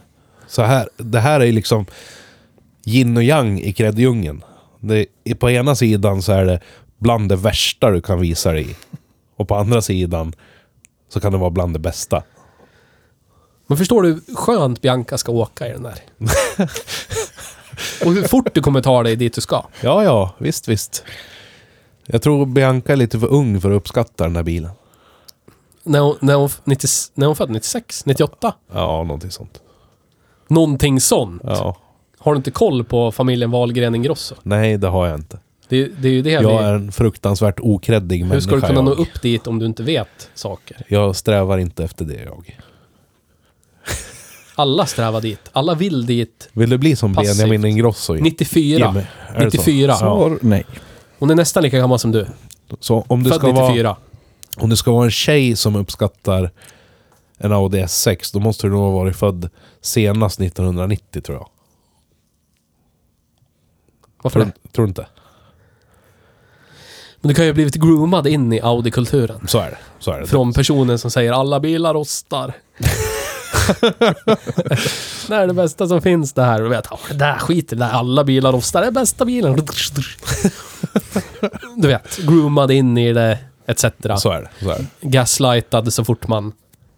Så här, det här är ju liksom yin och yang i creddjungeln. Det är- På ena sidan så är det bland det värsta du kan visa dig i. Och på andra sidan så kan det vara bland det bästa.
Men förstår du hur skönt Bianca ska åka i
[LAUGHS]
den där? Och hur fort du kommer ta dig dit du ska.
Ja, ja, visst, visst. Jag tror Bianca är lite för ung för att uppskatta den här bilen.
När hon, när hon, 90, när hon född? 96? 98?
Ja, någonting sånt.
Någonting sånt.
Ja.
Har du inte koll på familjen Wahlgren Ingrosso?
Nej, det har jag inte.
Det, det är ju det
Jag
vi...
är en fruktansvärt okreddig människa.
Hur ska du kunna
jag.
nå upp dit om du inte vet saker?
Jag strävar inte efter det, jag.
Alla strävar dit. Alla vill dit.
Vill du bli som
Passivt.
Benjamin Ingrosso? Ge
94.
mig- är det så?
94.
Ja.
Svar nej.
Hon är nästan lika gammal som du.
Så om du
Född
ska vara...
94.
Om det ska vara en tjej som uppskattar en Audi S6, då måste du nog ha varit född senast 1990 tror jag.
Varför
Tror,
det?
tror du inte?
Men du kan ju ha blivit groomad in i Audi-kulturen.
Så är det. Så är det.
Från personen som säger alla
[LAUGHS]
bilar rostar. det här är det bästa som finns det här. Och vet, "Ja, det där skiter det där. Alla bilar rostar. Det är bästa bilen. du vet, groomad in i det, etc.
Så är det. Så är det.
Gaslightad så fort man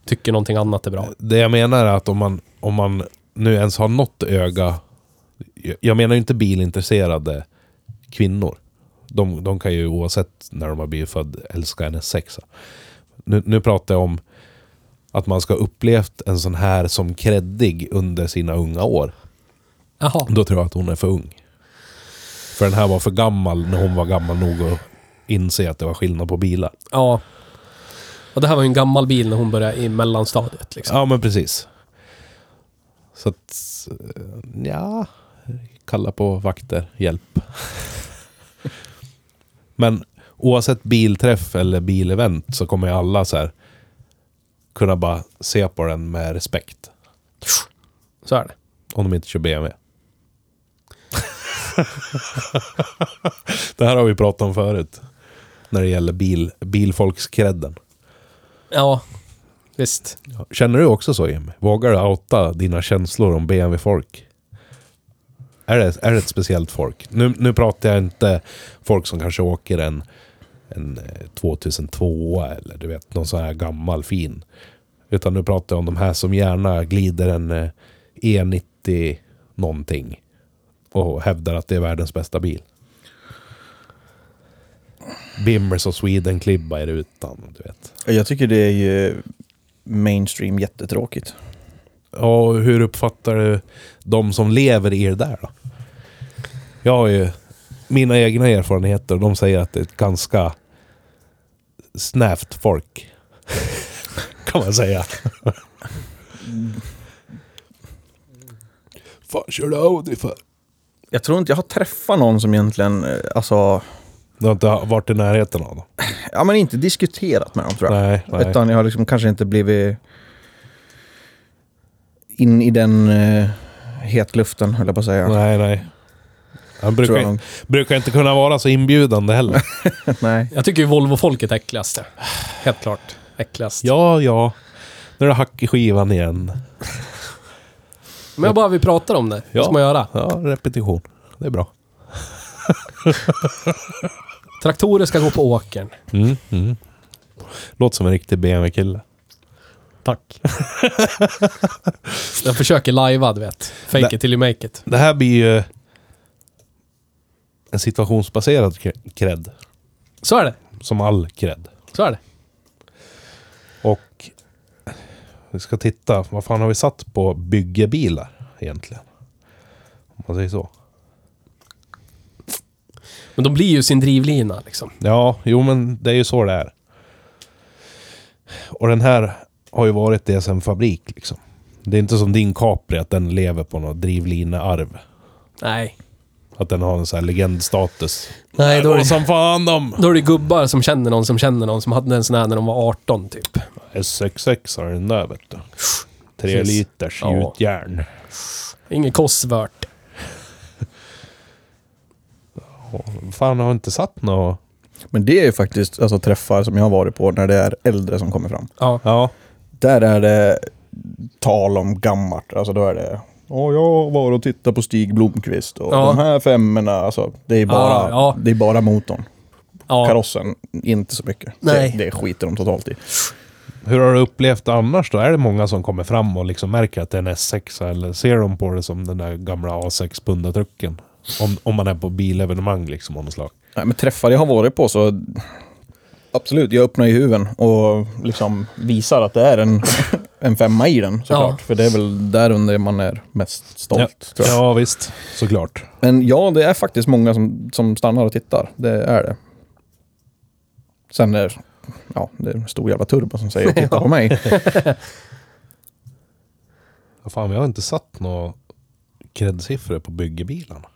tycker någonting annat är bra.
det jag menar är att om man, om man nu ens har något öga... jag- Jag menar ju inte bilintresserade kvinnor. De, de kan ju oavsett när de har blivit född älska en S6. Nu, nu pratar jag om att man ska ha upplevt en sån här som kreddig under sina unga år.
Jaha.
Då tror jag att hon är för ung. För den här var för gammal när hon var gammal nog att inse att det var skillnad på bilar.
Ja. Och det här var ju en gammal bil när hon började i mellanstadiet. Liksom.
Ja, men precis. Så att... eh, ja Kalla på vakter, hjälp. [LAUGHS] men oavsett bilträff eller bilevent så kommer ju alla så här kunna bara se på den med respekt.
Så är det.
Om de inte kör BMW. [LAUGHS] det här har vi pratat om förut. När det gäller bil, bilfolkskredden.
Ja, visst.
Känner du också så Jim? Vågar du outa dina känslor om BMW-folk? Är det, är det ett speciellt folk? Nu, nu pratar jag inte folk som kanske åker en, en eh, 2002 eller du vet någon sån här gammal fin. Utan nu pratar jag om de här som gärna glider en eh, E90 någonting och hävdar att det är världens bästa bil. Bimmers och Sweden-klibba i rutan, du vet.
Jag tycker det är ju mainstream jättetråkigt.
Ja, och hur uppfattar du de som lever i det där då? Jag har ju mina egna erfarenheter och de säger att det är ett ganska snävt folk. [LAUGHS] kan man säga. Fan kör du Audi för?
Jag tror inte jag har träffat någon som egentligen, eh, alltså,
Du har inte varit i närheten av dem?
ja men inte diskuterat med dem tror jag.
Nej, nej.
Utan jag har liksom kanske inte blivit in i den eh, hetluften, höll jag på att säga.
Nej, nej. Han
Tror
brukar,
jag nog.
brukar inte kunna vara så inbjudande
[LAUGHS]
heller.
Nej.
Jag tycker ju Volvo-folket är äckligast. ja. Helt klart. Äckligast.
Ja, ja. Nu är det hack i skivan igen.
Men jag bara vi pratar om det.
Ja.
Vad ska man göra?
Ja, repetition. Det är bra.
Traktorer ska gå på åkern.
Mm, mm. Låter som en riktig BMW-kille.
Tack. jag försöker lajva, du vet. Fake
Nej.
it till you make it.
[LAUGHS] Det här blir ju en situationsbaserad kre- cred.
Så är det.
Som all cred.
Så är det.
Och vi ska titta. Vad fan har vi satt på byggebilar egentligen? Om man säger så.
Men de blir ju sin drivlina liksom.
Ja, jo men det är ju så det är. Och den här har ju varit det sen fabrik liksom. Det är inte som din Capri att den lever på något drivlinearv.
Nej.
Att den har en sån här legendstatus.
Nej, då är,
Går
det,
som fan dem!
då är det gubbar som känner någon som känner någon som hade en sån här när de var 18 typ.
S66 har den där vet du. Tre
Precis.
liters
Ja.
gjutjärn.
Ingen kosvört.
Fan har inte satt något...
Men det är ju faktiskt alltså, träffar som jag har varit på när det är äldre som kommer fram.
Ja.
Ja.
Där är det tal om gammalt. Alltså då är det... Åh, jag var och tittade på Stig Blomqvist och
Ja.
de här femmorna. Alltså, det, är bara,
Ja, ja.
det är bara motorn.
ja.
Karossen, inte så mycket.
Nej.
Det, det skiter de totalt i.
Hur har du upplevt det annars då? Är det många som kommer fram och liksom märker att det är en S6 eller ser de på det som den där gamla A6 pundatrucken? Om, om man är på bilevenemang liksom av något slag.
Nej, men träffar jag har varit på så... Absolut, jag öppnar ju huven och liksom visar att det är en, [LAUGHS] en femma i den såklart. För det är väl där under man är mest stolt.
ja,
Tror jag.
ja visst, såklart.
Men ja, det är faktiskt många som, som stannar och tittar. Det är det. Sen är ja, det är en stor jävla turbo som säger titta på [LAUGHS] mig.
Ja, fan, vi har inte satt några kreddsiffror på byggebilarna.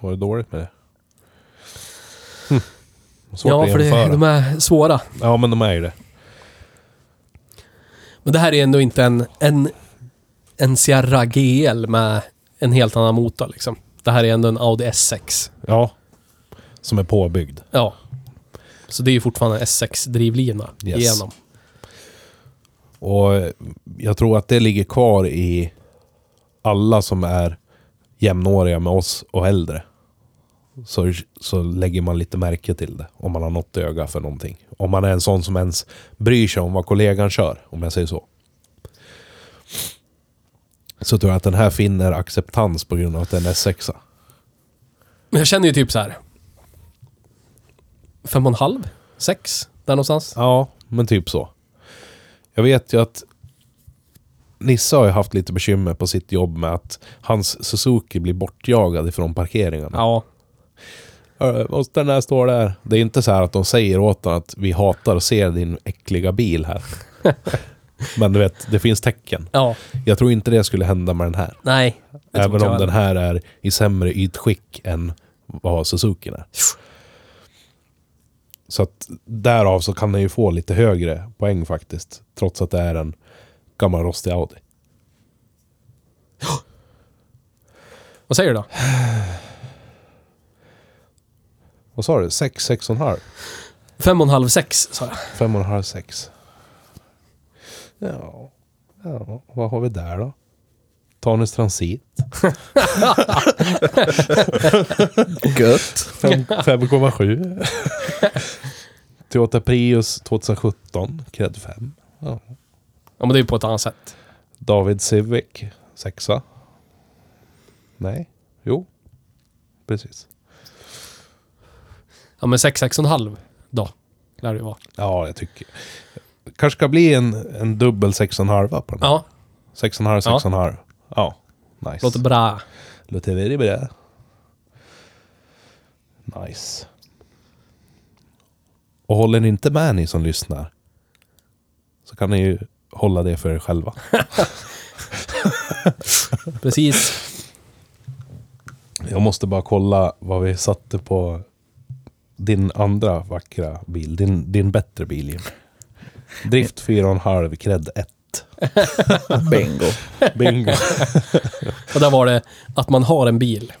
Var det dåligt med det? Hm. Svårt
Ja,
att
för det,
jämföra.
de är svåra.
Ja, men de är ju det.
Men det här är ändå inte en, en, en Sierra GL med en helt annan motor liksom. Det här är ändå en Audi S6.
Ja. Som är påbyggd.
Ja. Så det är ju fortfarande en S6-drivlina
Yes.
igenom.
Och eh, jag tror att det ligger kvar i alla som är jämnåriga med oss och äldre. Så, så lägger man lite märke till det. Om man har något öga för någonting. Om man är en sån som ens bryr sig om vad kollegan kör. Om jag säger så. Så tror jag att den här finner acceptans på grund av att den är sexa.
Men jag känner ju typ så här. Fem och en halv? Sex? Där någonstans?
Ja, men typ så. Jag vet ju att Nissa har ju haft lite bekymmer på sitt jobb med att hans Suzuki blir bortjagad ifrån parkeringarna.
Ja.
Ö, Och den här står där. Det är inte så här att de säger åt honom att vi hatar att se din äckliga bil här. men du vet, det finns tecken.
Ja.
Jag tror inte det skulle hända med den här.
Nej. det tror
Även
inte
om
jag
den
heller.
här är i sämre ytskick än vad Suzuki är. Så att därav så kan den ju få lite högre poäng faktiskt. Trots att det är en gammal rostig Audi.
Vad säger du då?
Vad sa du? 6, 6,5?
Fem och en halv, sex sa jag.
5,5, 6. Ja. ja, vad har vi där då? Tanus Transit.
Gött.
5 5,7. Toyota Prius 2017, cred 5. Ja.
Ja, men det är ju på ett annat sätt.
David Civic, sexa. Nej, jo. Precis.
Ja, men sex, sex och en halv då. Lär det ju vara.
Ja, jag tycker... kanske ska bli en, en dubbel 6,5 på den. här.
Ja,
6,5, 6,5. Ja. nice.
låter bra.
Låter väldigt bra. Nice. Och håller ni inte med ni som lyssnar så kan ni ju hålla det för er själva.
Precis.
Jag måste bara kolla vad vi satte på din andra vackra bil. Din, din bättre bil, Jim. Drift 4,5, cred 1.
Bingo.
Bingo.
Och där var det att man har en bil.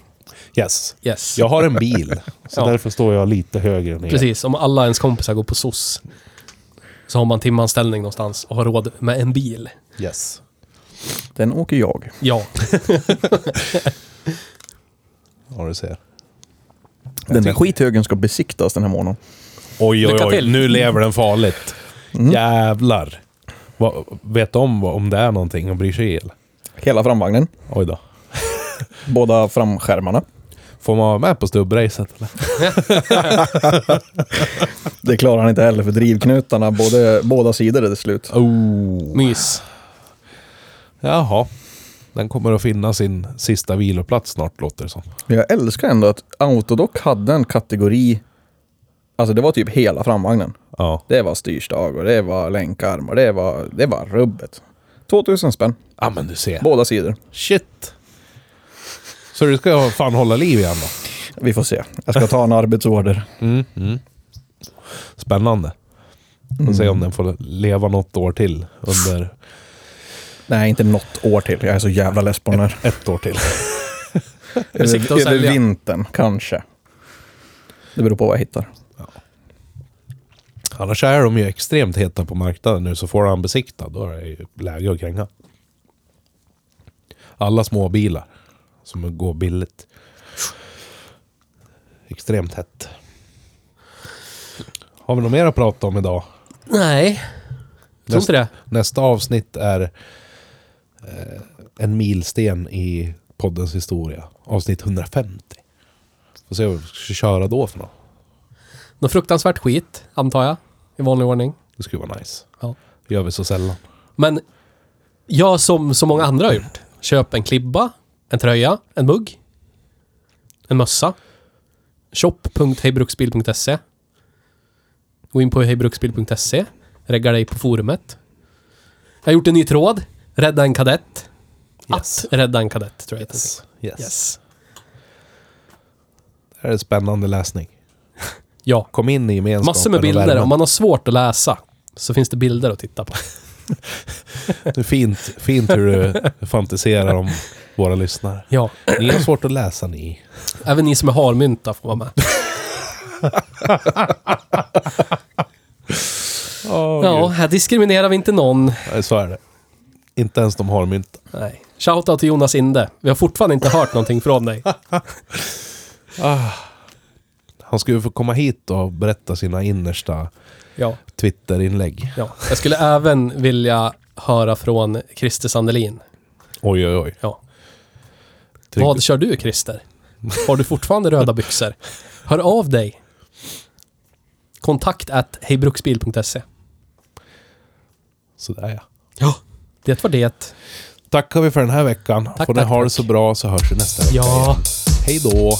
Yes.
Yes.
Jag har en bil, så
Ja.
därför står jag lite högre ner.
Precis, om alla ens kompisar går på SOS så har man timanställning någonstans och har råd med en bil.
Yes.
Den åker jag.
Ja,
Ja, du ser.
Den där
tycker-
skithögen ska besiktas den här månaden.
Oj, oj,
Lycka
oj.
till.
Nu lever den farligt. Jävlar. Va, vet om vad- om det är någonting och bryr sig el?
Hela framvagnen,
Oj då.
båda framskärmarna.
Får man vara med på stubbracet eller?
Det klarar han inte heller för drivknutarna, både, båda sidor är det slut.
Oh.
mys.
Jaha. Den kommer att finna sin sista viloplats snart, låter det som.
Men jag älskar ändå att Autodoc hade en kategori, alltså det var typ hela framvagnen.
Ja.
Det var styrstag och det var länkarm och det var, det var rubbet. 2000 spänn,
Ja, men du ser.
båda sidor.
Shit. Så du ska fan hålla liv igen då?
Vi får se. Jag ska ta en arbetsorder.
Mm. Mm. Spännande. Får se om den får leva något år till. Under
Nej, inte något år till. Jag är så jävla less på den här.
ett år till.
Med sikte att
Över, över
sälja.
vintern, kanske. Det beror på vad jag hittar.
Annars är de ju extremt heta på marknaden nu, så får han besiktad, då är det ju läge att kränga. Alla små bilar som går billigt. Extremt hett. Har vi något mer att prata om idag?
Nej, jag tror inte det.
Nästa avsnitt är eh, en milsten i poddens historia. Avsnitt 150. Får se vad vi ska köra då för något.
Något fruktansvärt skit, antar jag. I vanlig ordning.
Det skulle vara nice.
Ja.
Det gör vi så sällan.
Men jag som så många andra har gjort. Köp en klibba, en tröja, en mugg, en mössa. Shop.hejbruksbil.se Gå in på hejbruksbil.se Regga dig på forumet. Jag har gjort en ny tråd. Rädda en kadett.
Yes.
Att rädda en kadett, tror jag
Yes.
heter.
yes.
Yes.
Det här är spännande läsning.
Ja.
Kom in i gemenskapen
Massor med
och värmen.
bilder. Om man har svårt att läsa så finns det bilder att titta på.
Det är fint, fint hur du fantiserar om våra lyssnare.
Ja.
Ni har svårt att läsa ni.
Även ni som är harmynta får vara med.
ja.
Ja, här diskriminerar vi inte någon.
Så är det. Inte ens de har mynt.
Nej. Shoutout till Jonas Inde. Vi har fortfarande inte hört någonting från dig.
Han skulle få komma hit och berätta sina innersta
Ja,
Twitterinlägg.
ja. Jag skulle även vilja höra från Christer Sandelin.
Oj, oj, oj.
Ja.
Tryck-
Vad kör du Christer? Har du fortfarande röda byxor? Hör av dig. Kontakt at hejbruksbil.se.
Sådär ja.
Ja. Det var det.
Tackar vi för den här veckan.
Tack,
Får ni
tack,
ha det
tack.
så bra så hörs vi nästa vecka.
Ja.
Hej då!